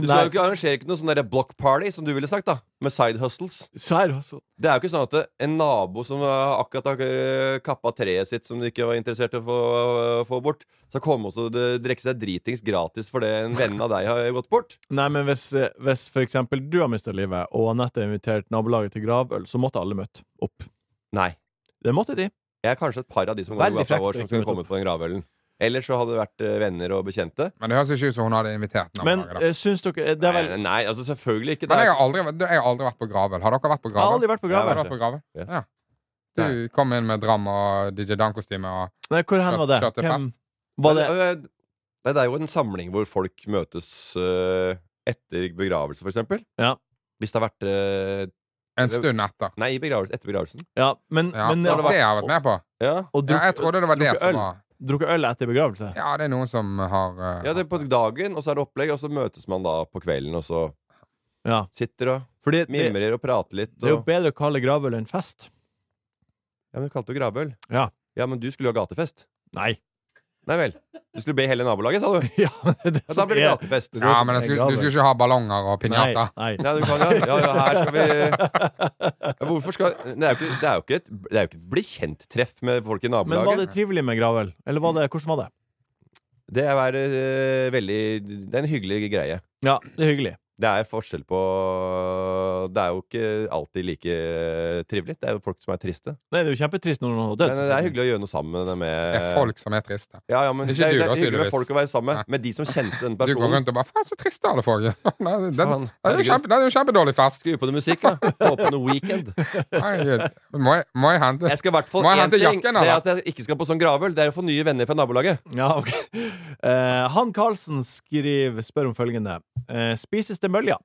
Speaker 3: Du
Speaker 1: Nei.
Speaker 3: skal jo ikke arrangere ikke noe sånn der block party, som du ville sagt, da. Med side hustles.
Speaker 1: Sær også.
Speaker 3: Det er jo ikke sånn at en nabo som har akkurat har eh, kappa treet sitt, som du ikke var interessert i å få, få bort, skal komme og så d- drikke seg dritings gratis fordi en venn av deg har gått bort.
Speaker 1: Nei, men hvis, eh, hvis for eksempel du har mista livet, og Anette har invitert nabolaget til gravøl, så måtte alle møte opp.
Speaker 3: Nei.
Speaker 1: Det måtte de.
Speaker 3: Jeg er kanskje et par av de som går i
Speaker 1: Veldig
Speaker 3: gata vår,
Speaker 1: frekt å
Speaker 3: som
Speaker 1: ikke
Speaker 3: skulle
Speaker 1: møte
Speaker 3: kommet på den gravølen. Ellers så hadde det vært eh, venner og bekjente.
Speaker 2: Men det høres ikke ut som hun hadde invitert
Speaker 1: Men
Speaker 2: nabolaget. da.
Speaker 1: eh, syns dere eh, Det er vel
Speaker 3: Nei, nei, altså selvfølgelig ikke.
Speaker 2: Men jeg
Speaker 3: Det er,
Speaker 2: har aldri, vært- jeg har aldri vært på Gravel. Har dere vært på
Speaker 1: Jeg har
Speaker 2: Gravel?
Speaker 1: aldri vært på
Speaker 2: Har
Speaker 1: gravel.
Speaker 2: du vært på Gravel?
Speaker 3: Ja.
Speaker 2: Ja. Du kom inn med dram og DJ Dan-kostyme og
Speaker 1: Nei, hvor hen var det?
Speaker 2: Kjørte
Speaker 1: Hvem,
Speaker 2: fest.
Speaker 1: var det?
Speaker 3: Men, eh, nei, det er jo en samling hvor folk møtes eh, etter begravelse, for eksempel.
Speaker 1: Ja.
Speaker 3: Hvis det har vært eh,
Speaker 2: en stund etter.
Speaker 3: Nei, i begravelse, etter begravelsen.
Speaker 1: Ja, men,
Speaker 2: Ja,
Speaker 1: men
Speaker 2: det har
Speaker 1: å-
Speaker 2: jeg vært med på.
Speaker 3: Ja.
Speaker 1: å
Speaker 2: Ja, jeg
Speaker 1: drukke,
Speaker 2: trodde det var det
Speaker 1: drukke
Speaker 2: som
Speaker 1: øl.
Speaker 2: var
Speaker 1: drukke øl etter begravelse?
Speaker 2: Ja, det er noen som har eh,
Speaker 3: Ja, det er på dagen, og så er det opplegg, og så møtes man da på kvelden, og så
Speaker 1: Ja.
Speaker 3: sitter og
Speaker 1: Fordi det, det
Speaker 3: mimrer og prater litt.
Speaker 1: er jo
Speaker 3: Og...
Speaker 1: bedre å kalle gravøl enn fest.
Speaker 3: Ja, men du kalte jo gravøl.
Speaker 1: Ja.
Speaker 3: ja, men du skulle jo ha gatefest.
Speaker 1: Nei.
Speaker 3: Nei vel. Du skulle be hele nabolaget, sa du.
Speaker 1: [laughs] Ja, men det
Speaker 3: Ja, da
Speaker 1: som
Speaker 3: blir det
Speaker 1: er-
Speaker 3: gatefest.
Speaker 2: ja, men jeg skulle, du skulle ikke ha ballonger og pinjater.
Speaker 1: Nei, nei.
Speaker 3: Ja, du kan ja. ja, ja her skal vi ja, Hvorfor skal Det er jo ikke, det er jo ikke et, det er jo ikke et bli kjent-treff med folk i
Speaker 1: Men var
Speaker 3: nabolaget.
Speaker 1: det trivelig med gravøl? Eller var det, hvordan var det?
Speaker 3: Det er, eh, veldig Det er en hyggelig greie.
Speaker 1: Ja, det er hyggelig.
Speaker 3: Det er forskjell på Det er jo ikke alltid like eh, trivelig. Det er jo folk som er triste.
Speaker 1: Nei, det er jo kjempetrist når noen har dødd.
Speaker 3: Men eh, det er hyggelig å gjøre noe sammen eh,
Speaker 2: Det er
Speaker 3: med
Speaker 2: folk som er triste.
Speaker 3: Ja, ja, men
Speaker 2: Ikke
Speaker 3: det er, det
Speaker 2: du, da,
Speaker 3: er hyggelig
Speaker 2: tydeligvis.
Speaker 3: med folk å være sammen med.
Speaker 2: Nei.
Speaker 3: Med de som kjente denne
Speaker 2: [laughs] Du går
Speaker 3: personen.
Speaker 2: rundt og bare 'faen, så triste alle folk er'. [laughs] Nei, det, det,
Speaker 3: Faen,
Speaker 2: det er jo
Speaker 3: herregud.
Speaker 2: kjempe, det er jo kjempedårlig
Speaker 3: [laughs]
Speaker 2: fest.
Speaker 3: Skru på noe musikk, da. Få på noe weekend.
Speaker 2: Herregud. Må jeg, må jeg hente
Speaker 3: Jeg skal i hvert fall
Speaker 2: Må jeg
Speaker 3: én
Speaker 2: hente
Speaker 3: ting.
Speaker 2: jakken,
Speaker 3: det er
Speaker 2: eller?
Speaker 3: at jeg ikke skal på sånn gravøl. Det er å få nye venner fra nabolaget.
Speaker 1: Ja, ok. Eh, Han Karlsen skriver, spør om følgende. Eh, spises det mølja?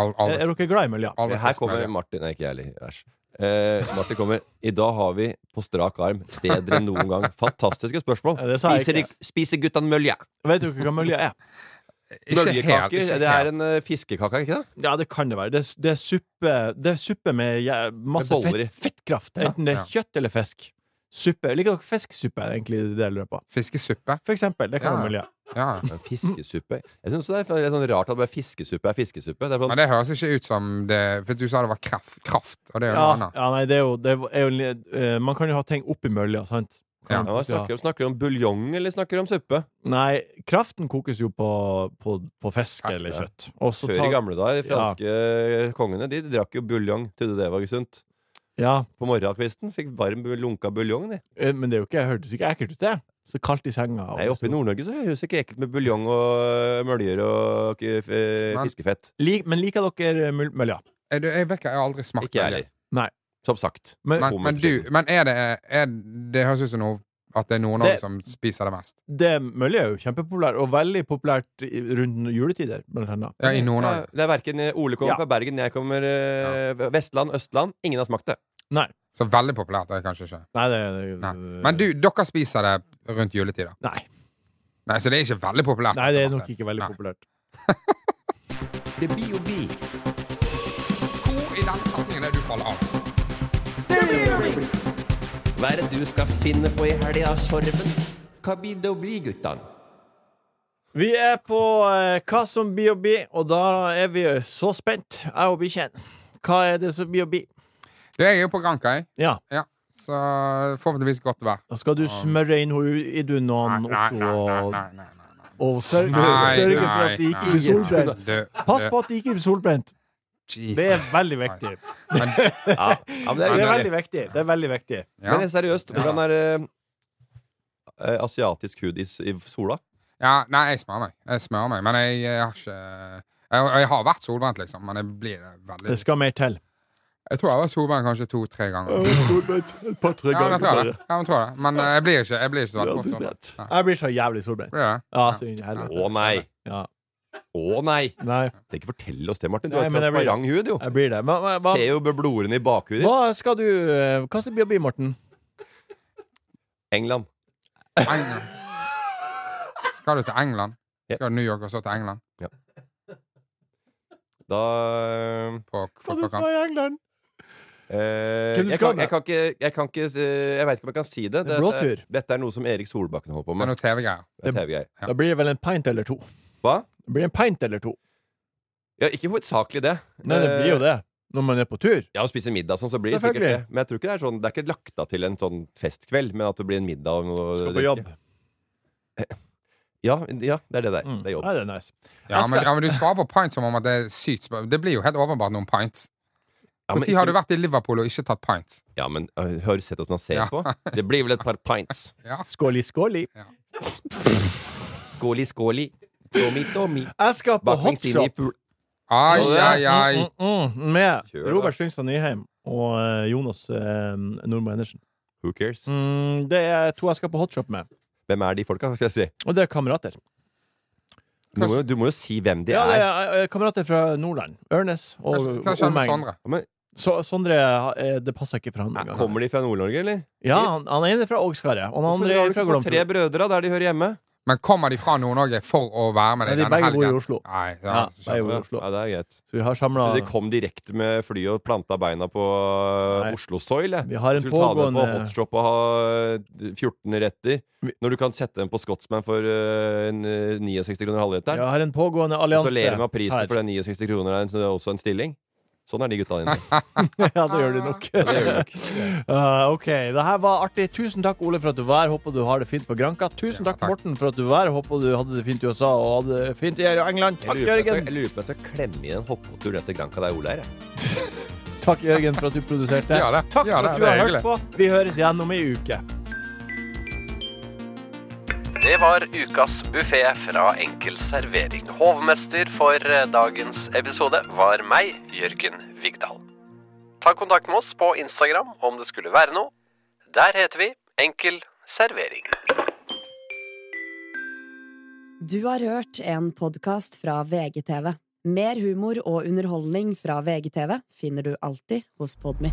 Speaker 2: Al-
Speaker 1: Er,
Speaker 2: Alle,
Speaker 1: er dere glad i mølja?
Speaker 2: alle
Speaker 3: Her
Speaker 2: spiser
Speaker 3: kommer
Speaker 2: mølje.
Speaker 3: Martin. Nei, ikke jeg heller. Æsj. Eh, Martin kommer. I dag har vi på strak arm bedre enn noen gang. Fantastiske spørsmål.
Speaker 1: Ja, det sa jeg
Speaker 3: Spiser,
Speaker 1: ikke.
Speaker 3: de- spiser guttan mølje?
Speaker 1: Vet dere hva mølja er?
Speaker 2: Ikke helt.
Speaker 3: Møljekaker?
Speaker 2: Ikke
Speaker 3: Det er
Speaker 2: helt.
Speaker 3: en eh, fiskekake, ikke det?
Speaker 1: Ja, det kan det være. Det, er- det, er, suppe, det er suppe med ja, masse
Speaker 3: Med boller i.
Speaker 1: fett, fettkraft. Enten det
Speaker 2: Ja.
Speaker 1: er kjøtt eller fisk. Suppe. Liker dere fiskesuppe? er egentlig det jeg lurer på.
Speaker 2: Fiskesuppe.
Speaker 1: For eksempel. Det kan
Speaker 2: Ja.
Speaker 1: være mølja.
Speaker 2: Ja.
Speaker 3: Men Fiskesuppe Jeg synes det er litt sånn rart at bare fiskesuppe er fiskesuppe. Det er sånn,
Speaker 2: Men det høres ikke ut som det For du sa det var kraft, kraft og det er jo noe
Speaker 1: Ja,
Speaker 2: annet.
Speaker 1: ja, nei, det er jo, det er jo eh, Man kan jo ha ting oppi mølja, sant?
Speaker 2: Ja.
Speaker 3: ja, hva snakker, om, snakker du om buljong, eller snakker du om suppe?
Speaker 1: Nei, kraften kokes jo på, på, på fisk
Speaker 2: Fisk,
Speaker 1: eller
Speaker 3: ja.
Speaker 1: kjøtt. Og så
Speaker 3: Før i
Speaker 1: tar-
Speaker 3: gamle dager, de
Speaker 1: Ja.
Speaker 3: franske eh, kongene de drakk jo buljong. Trodde det var sunt.
Speaker 1: Ja,
Speaker 3: På morgenkvisten fikk varm, bu- lunka buljong. De.
Speaker 1: Eh, Men det er jo ikke, hørtes ikke ekkelt ut, det. Så kaldt i senga. og- sånn.
Speaker 3: Nei, Oppe i Nord-Norge så høres det ikke ekkelt med buljong og eh, møljer og eh, f- eh,
Speaker 2: Men-
Speaker 3: fiskefett.
Speaker 1: Lik- men liker dere mul- mølja?
Speaker 2: Jeg, jeg vet ikke, jeg har aldri smakt
Speaker 3: Ikke jeg
Speaker 2: mølje.
Speaker 3: heller.
Speaker 1: Nei.
Speaker 3: Som sagt.
Speaker 1: Men
Speaker 2: Men, men, du, men er det er, Det høres ut som noe at det er noen av
Speaker 1: Det-
Speaker 2: oss som spiser det mest.
Speaker 1: det mølja er jo kjempepopulært, og veldig populært i- rundt juletider, blant annet.
Speaker 2: Ja, i noen av
Speaker 3: Ja, Det er verken Ole kommer
Speaker 1: Ja.
Speaker 3: fra Bergen, jeg kommer eh, Vestland, Østland. Ingen har smakt det.
Speaker 2: Så veldig populært er det kanskje ikke.
Speaker 1: Nei, det, det
Speaker 2: Nei. Men du, dere spiser det rundt juletider.
Speaker 1: Nei.
Speaker 2: Nei, Så det er ikke veldig populært.
Speaker 1: Nei, det er
Speaker 2: Marte.
Speaker 1: nok ikke veldig
Speaker 2: Nei.
Speaker 1: populært.
Speaker 4: Det blir jo bi.
Speaker 2: Hvor i den setningen er du faller av?
Speaker 4: Hva er det du skal finne på i helga, Sorven? Hva blir det å bli, guttan?
Speaker 1: Vi er på eh, hva som blir å bli, og da er vi så spent, jeg og bikkjen. Hva er det som blir å bli?
Speaker 2: Du, jeg er jo på Granca, jeg.
Speaker 1: Ja,
Speaker 2: Ja. Så forhåpentligvis godt vær.
Speaker 1: da skal du smøre inn henne i dunaen, Otto, og,
Speaker 2: nei, nei.
Speaker 1: og sørge,
Speaker 2: Nei,
Speaker 1: sørge for
Speaker 2: nei,
Speaker 1: at de ikke
Speaker 2: nei.
Speaker 1: blir solbrent.
Speaker 2: Du,
Speaker 1: Pass
Speaker 2: du,
Speaker 1: på at de ikke blir solbrent.
Speaker 2: Jesus
Speaker 1: Det er veldig
Speaker 2: Christ.
Speaker 1: viktig.
Speaker 2: Men,
Speaker 1: [laughs]
Speaker 3: Ja, ja, men det
Speaker 1: Det
Speaker 3: er,
Speaker 1: er
Speaker 2: Nei,
Speaker 1: veldig viktig. Det er veldig viktig.
Speaker 2: ja.
Speaker 3: Men seriøst, hvordan er eh, eh, asiatisk hud i, s- i sola?
Speaker 2: ja, nei, jeg smører meg. Jeg smører meg, men jeg, jeg har ikke jeg, jeg har vært solbrent, liksom, men jeg blir det veldig
Speaker 1: Det skal mer til.
Speaker 2: Jeg tror jeg har vært solbrent kanskje to-tre ganger. Ja, men jeg tror det. Ja, men, jeg tror det. men eh, jeg blir ikke, jeg blir ikke så veldig fort solbrent. Nei.
Speaker 1: Jeg blir så jævlig solbrent.
Speaker 2: Blir det?
Speaker 1: Ja, så inn i helvete.
Speaker 3: Å nei!
Speaker 1: Ja.
Speaker 3: Å nei!
Speaker 1: Nei,
Speaker 3: Det er ikke fortell oss det, Martin. Du
Speaker 1: Nei,
Speaker 3: har
Speaker 1: men jeg blir-
Speaker 3: transparent hud, jo.
Speaker 1: jeg blir det. Men, men,
Speaker 3: Ser jo blodårene i bakhudet
Speaker 1: hva
Speaker 3: ditt.
Speaker 1: skal du eh, Hva skal det bli å bli, Morten?
Speaker 3: England.
Speaker 2: England. Skal du til England?
Speaker 3: Ja.
Speaker 2: Skal du til New York og så til England?
Speaker 3: Da
Speaker 2: På fotballkamp?
Speaker 1: i England?
Speaker 3: eh,
Speaker 1: Hvem du
Speaker 3: jeg,
Speaker 1: skal
Speaker 3: kan,
Speaker 1: med?
Speaker 3: jeg kan ikke Jeg, kan ikke, eh, jeg veit ikke om jeg kan si
Speaker 1: Det
Speaker 3: det. Dette,
Speaker 1: er
Speaker 3: er- eh,
Speaker 1: blåtur.
Speaker 3: dette er noe som Erik Solbakken holder på
Speaker 2: Det er
Speaker 3: med.
Speaker 2: noe TV-greier.
Speaker 3: Det er TV-greier.
Speaker 1: Da blir det vel en pint eller to.
Speaker 3: Hva?
Speaker 1: Det blir en pint eller to.
Speaker 3: Ja, ikke hovedsakelig det. Eh,
Speaker 1: Nei, det blir jo det. Når man er på tur.
Speaker 3: Ja, å spise middag sånn, så blir det sikkert
Speaker 1: Selvfølgelig.
Speaker 3: det. Men jeg tror ikke det er sånn Det er ikke lagt av til en sånn festkveld, men at det blir en middag og noe
Speaker 1: Skal på
Speaker 3: drikke.
Speaker 1: jobb.
Speaker 3: Ja, ja, det er det der.
Speaker 1: Mm.
Speaker 3: Det er jobb.
Speaker 1: Nei, det er nice.
Speaker 2: Ja, men, ja, men du svarer på pint som om at det er sykt spør- Det blir jo helt åpenbart noen pints.
Speaker 3: Ja,
Speaker 2: Når
Speaker 3: men,
Speaker 2: har du
Speaker 3: ikke-
Speaker 2: vært i Liverpool og ikke tatt pints?
Speaker 3: ja, men øh, hør, sett åssen han ser
Speaker 2: Ja.
Speaker 3: på. Det blir vel et par pints.
Speaker 1: Skåli, skåli.
Speaker 3: Skåli, skåli. Tommy, tommy.
Speaker 1: Jeg skal på
Speaker 3: Bakvingsini
Speaker 1: hotshop
Speaker 3: i fugl.
Speaker 2: Ai,
Speaker 3: Å, det er-
Speaker 2: ai, ai.
Speaker 1: mm, mm, mm, med
Speaker 3: Kjør, da.
Speaker 1: Robert Slyngstad Nyheim og eh, Jonas eh, Nordmo Endersen.
Speaker 3: Who cares?
Speaker 1: Mm, det er to jeg skal på hotshop med,
Speaker 3: Hvem er de folka, skal jeg si?
Speaker 1: og det er kamerater.
Speaker 3: Du må, jo, du må jo si hvem de
Speaker 1: Ja, det
Speaker 3: er.
Speaker 1: er eh, kamerater fra Nordland. Ørnes
Speaker 2: Hva
Speaker 1: og
Speaker 2: hva skjer
Speaker 1: omegn.
Speaker 2: med Sondre?
Speaker 3: Men,
Speaker 1: Så, Sondre eh, Det passer ikke for han.
Speaker 3: er,
Speaker 1: engang.
Speaker 3: kommer de fra Nord-Norge, eller?
Speaker 1: Ja, han, han ene er fra Ågskaret, og han
Speaker 3: Hvorfor
Speaker 1: andre
Speaker 3: drar
Speaker 1: er
Speaker 3: du
Speaker 1: fra
Speaker 3: ikke på Tre
Speaker 1: Glomfjord.
Speaker 3: brødre, der de hører hjemme?
Speaker 2: Men kommer de fra Nord-Norge for å være med
Speaker 1: Nei,
Speaker 2: deg
Speaker 1: de
Speaker 2: denne
Speaker 1: begge bor i
Speaker 2: helgen?
Speaker 1: Oslo.
Speaker 2: Nei, ja,
Speaker 1: Ja, begge
Speaker 2: så skjønner
Speaker 1: bor i
Speaker 2: jeg.
Speaker 1: Oslo.
Speaker 3: Ja, det er greit.
Speaker 1: Så vi har samla
Speaker 3: Så de kom direkte med fly og planta beina på øh,
Speaker 1: Nei.
Speaker 3: Oslo-soil? jeg.
Speaker 1: Vi har en
Speaker 3: Skulle ta dem på
Speaker 1: pågående-
Speaker 3: hotshop og ha eh, 14 retter.
Speaker 1: Vi-
Speaker 3: Når du kan sette dem på Scotsman for eh, en, eh, 69 kroner halvliteren.
Speaker 1: Jeg har en pågående
Speaker 3: og
Speaker 1: allianse
Speaker 3: så ler de av prisen
Speaker 1: her.
Speaker 3: for den 69 kroner er en- så det er også en stilling. Sånn er de
Speaker 1: [laughs]
Speaker 3: gutta dine.
Speaker 1: Ja, det gjør de nok.
Speaker 3: Det gjør de
Speaker 1: [laughs]
Speaker 3: nok.
Speaker 1: Uh, ok, det her var artig. Tusen takk, Ole, for at du var her. Håper du har det fint på Granka. Tusen
Speaker 2: Ja,
Speaker 1: takk,
Speaker 2: takk.
Speaker 1: Morten, for at du var her. Håper du hadde det fint i USA og hadde det fint i England.
Speaker 3: Jeg
Speaker 1: Takk,
Speaker 3: lurer på om jeg skal-
Speaker 1: Jørgen.
Speaker 3: jeg lurer på om jeg skal klemme inn en hoppetur ned til Granca der Ole er. jeg.
Speaker 1: Takk, Jørgen, for at du produserte.
Speaker 2: Ja, det.
Speaker 1: Takk for
Speaker 2: Ja, det.
Speaker 1: at
Speaker 2: Det
Speaker 1: du
Speaker 2: er
Speaker 1: har hørt
Speaker 2: hyggelig.
Speaker 1: på. Vi høres igjen om ei uke.
Speaker 6: Det var ukas buffé fra Enkel servering. Hovmester for eh, dagens episode var meg, Jørgen Vigdal. Ta kontakt med oss på Instagram om det skulle være noe. Der heter vi Enkel servering.
Speaker 7: Du har hørt en podkast fra VGTV. Mer humor og underholdning fra VGTV finner du alltid hos Podmy.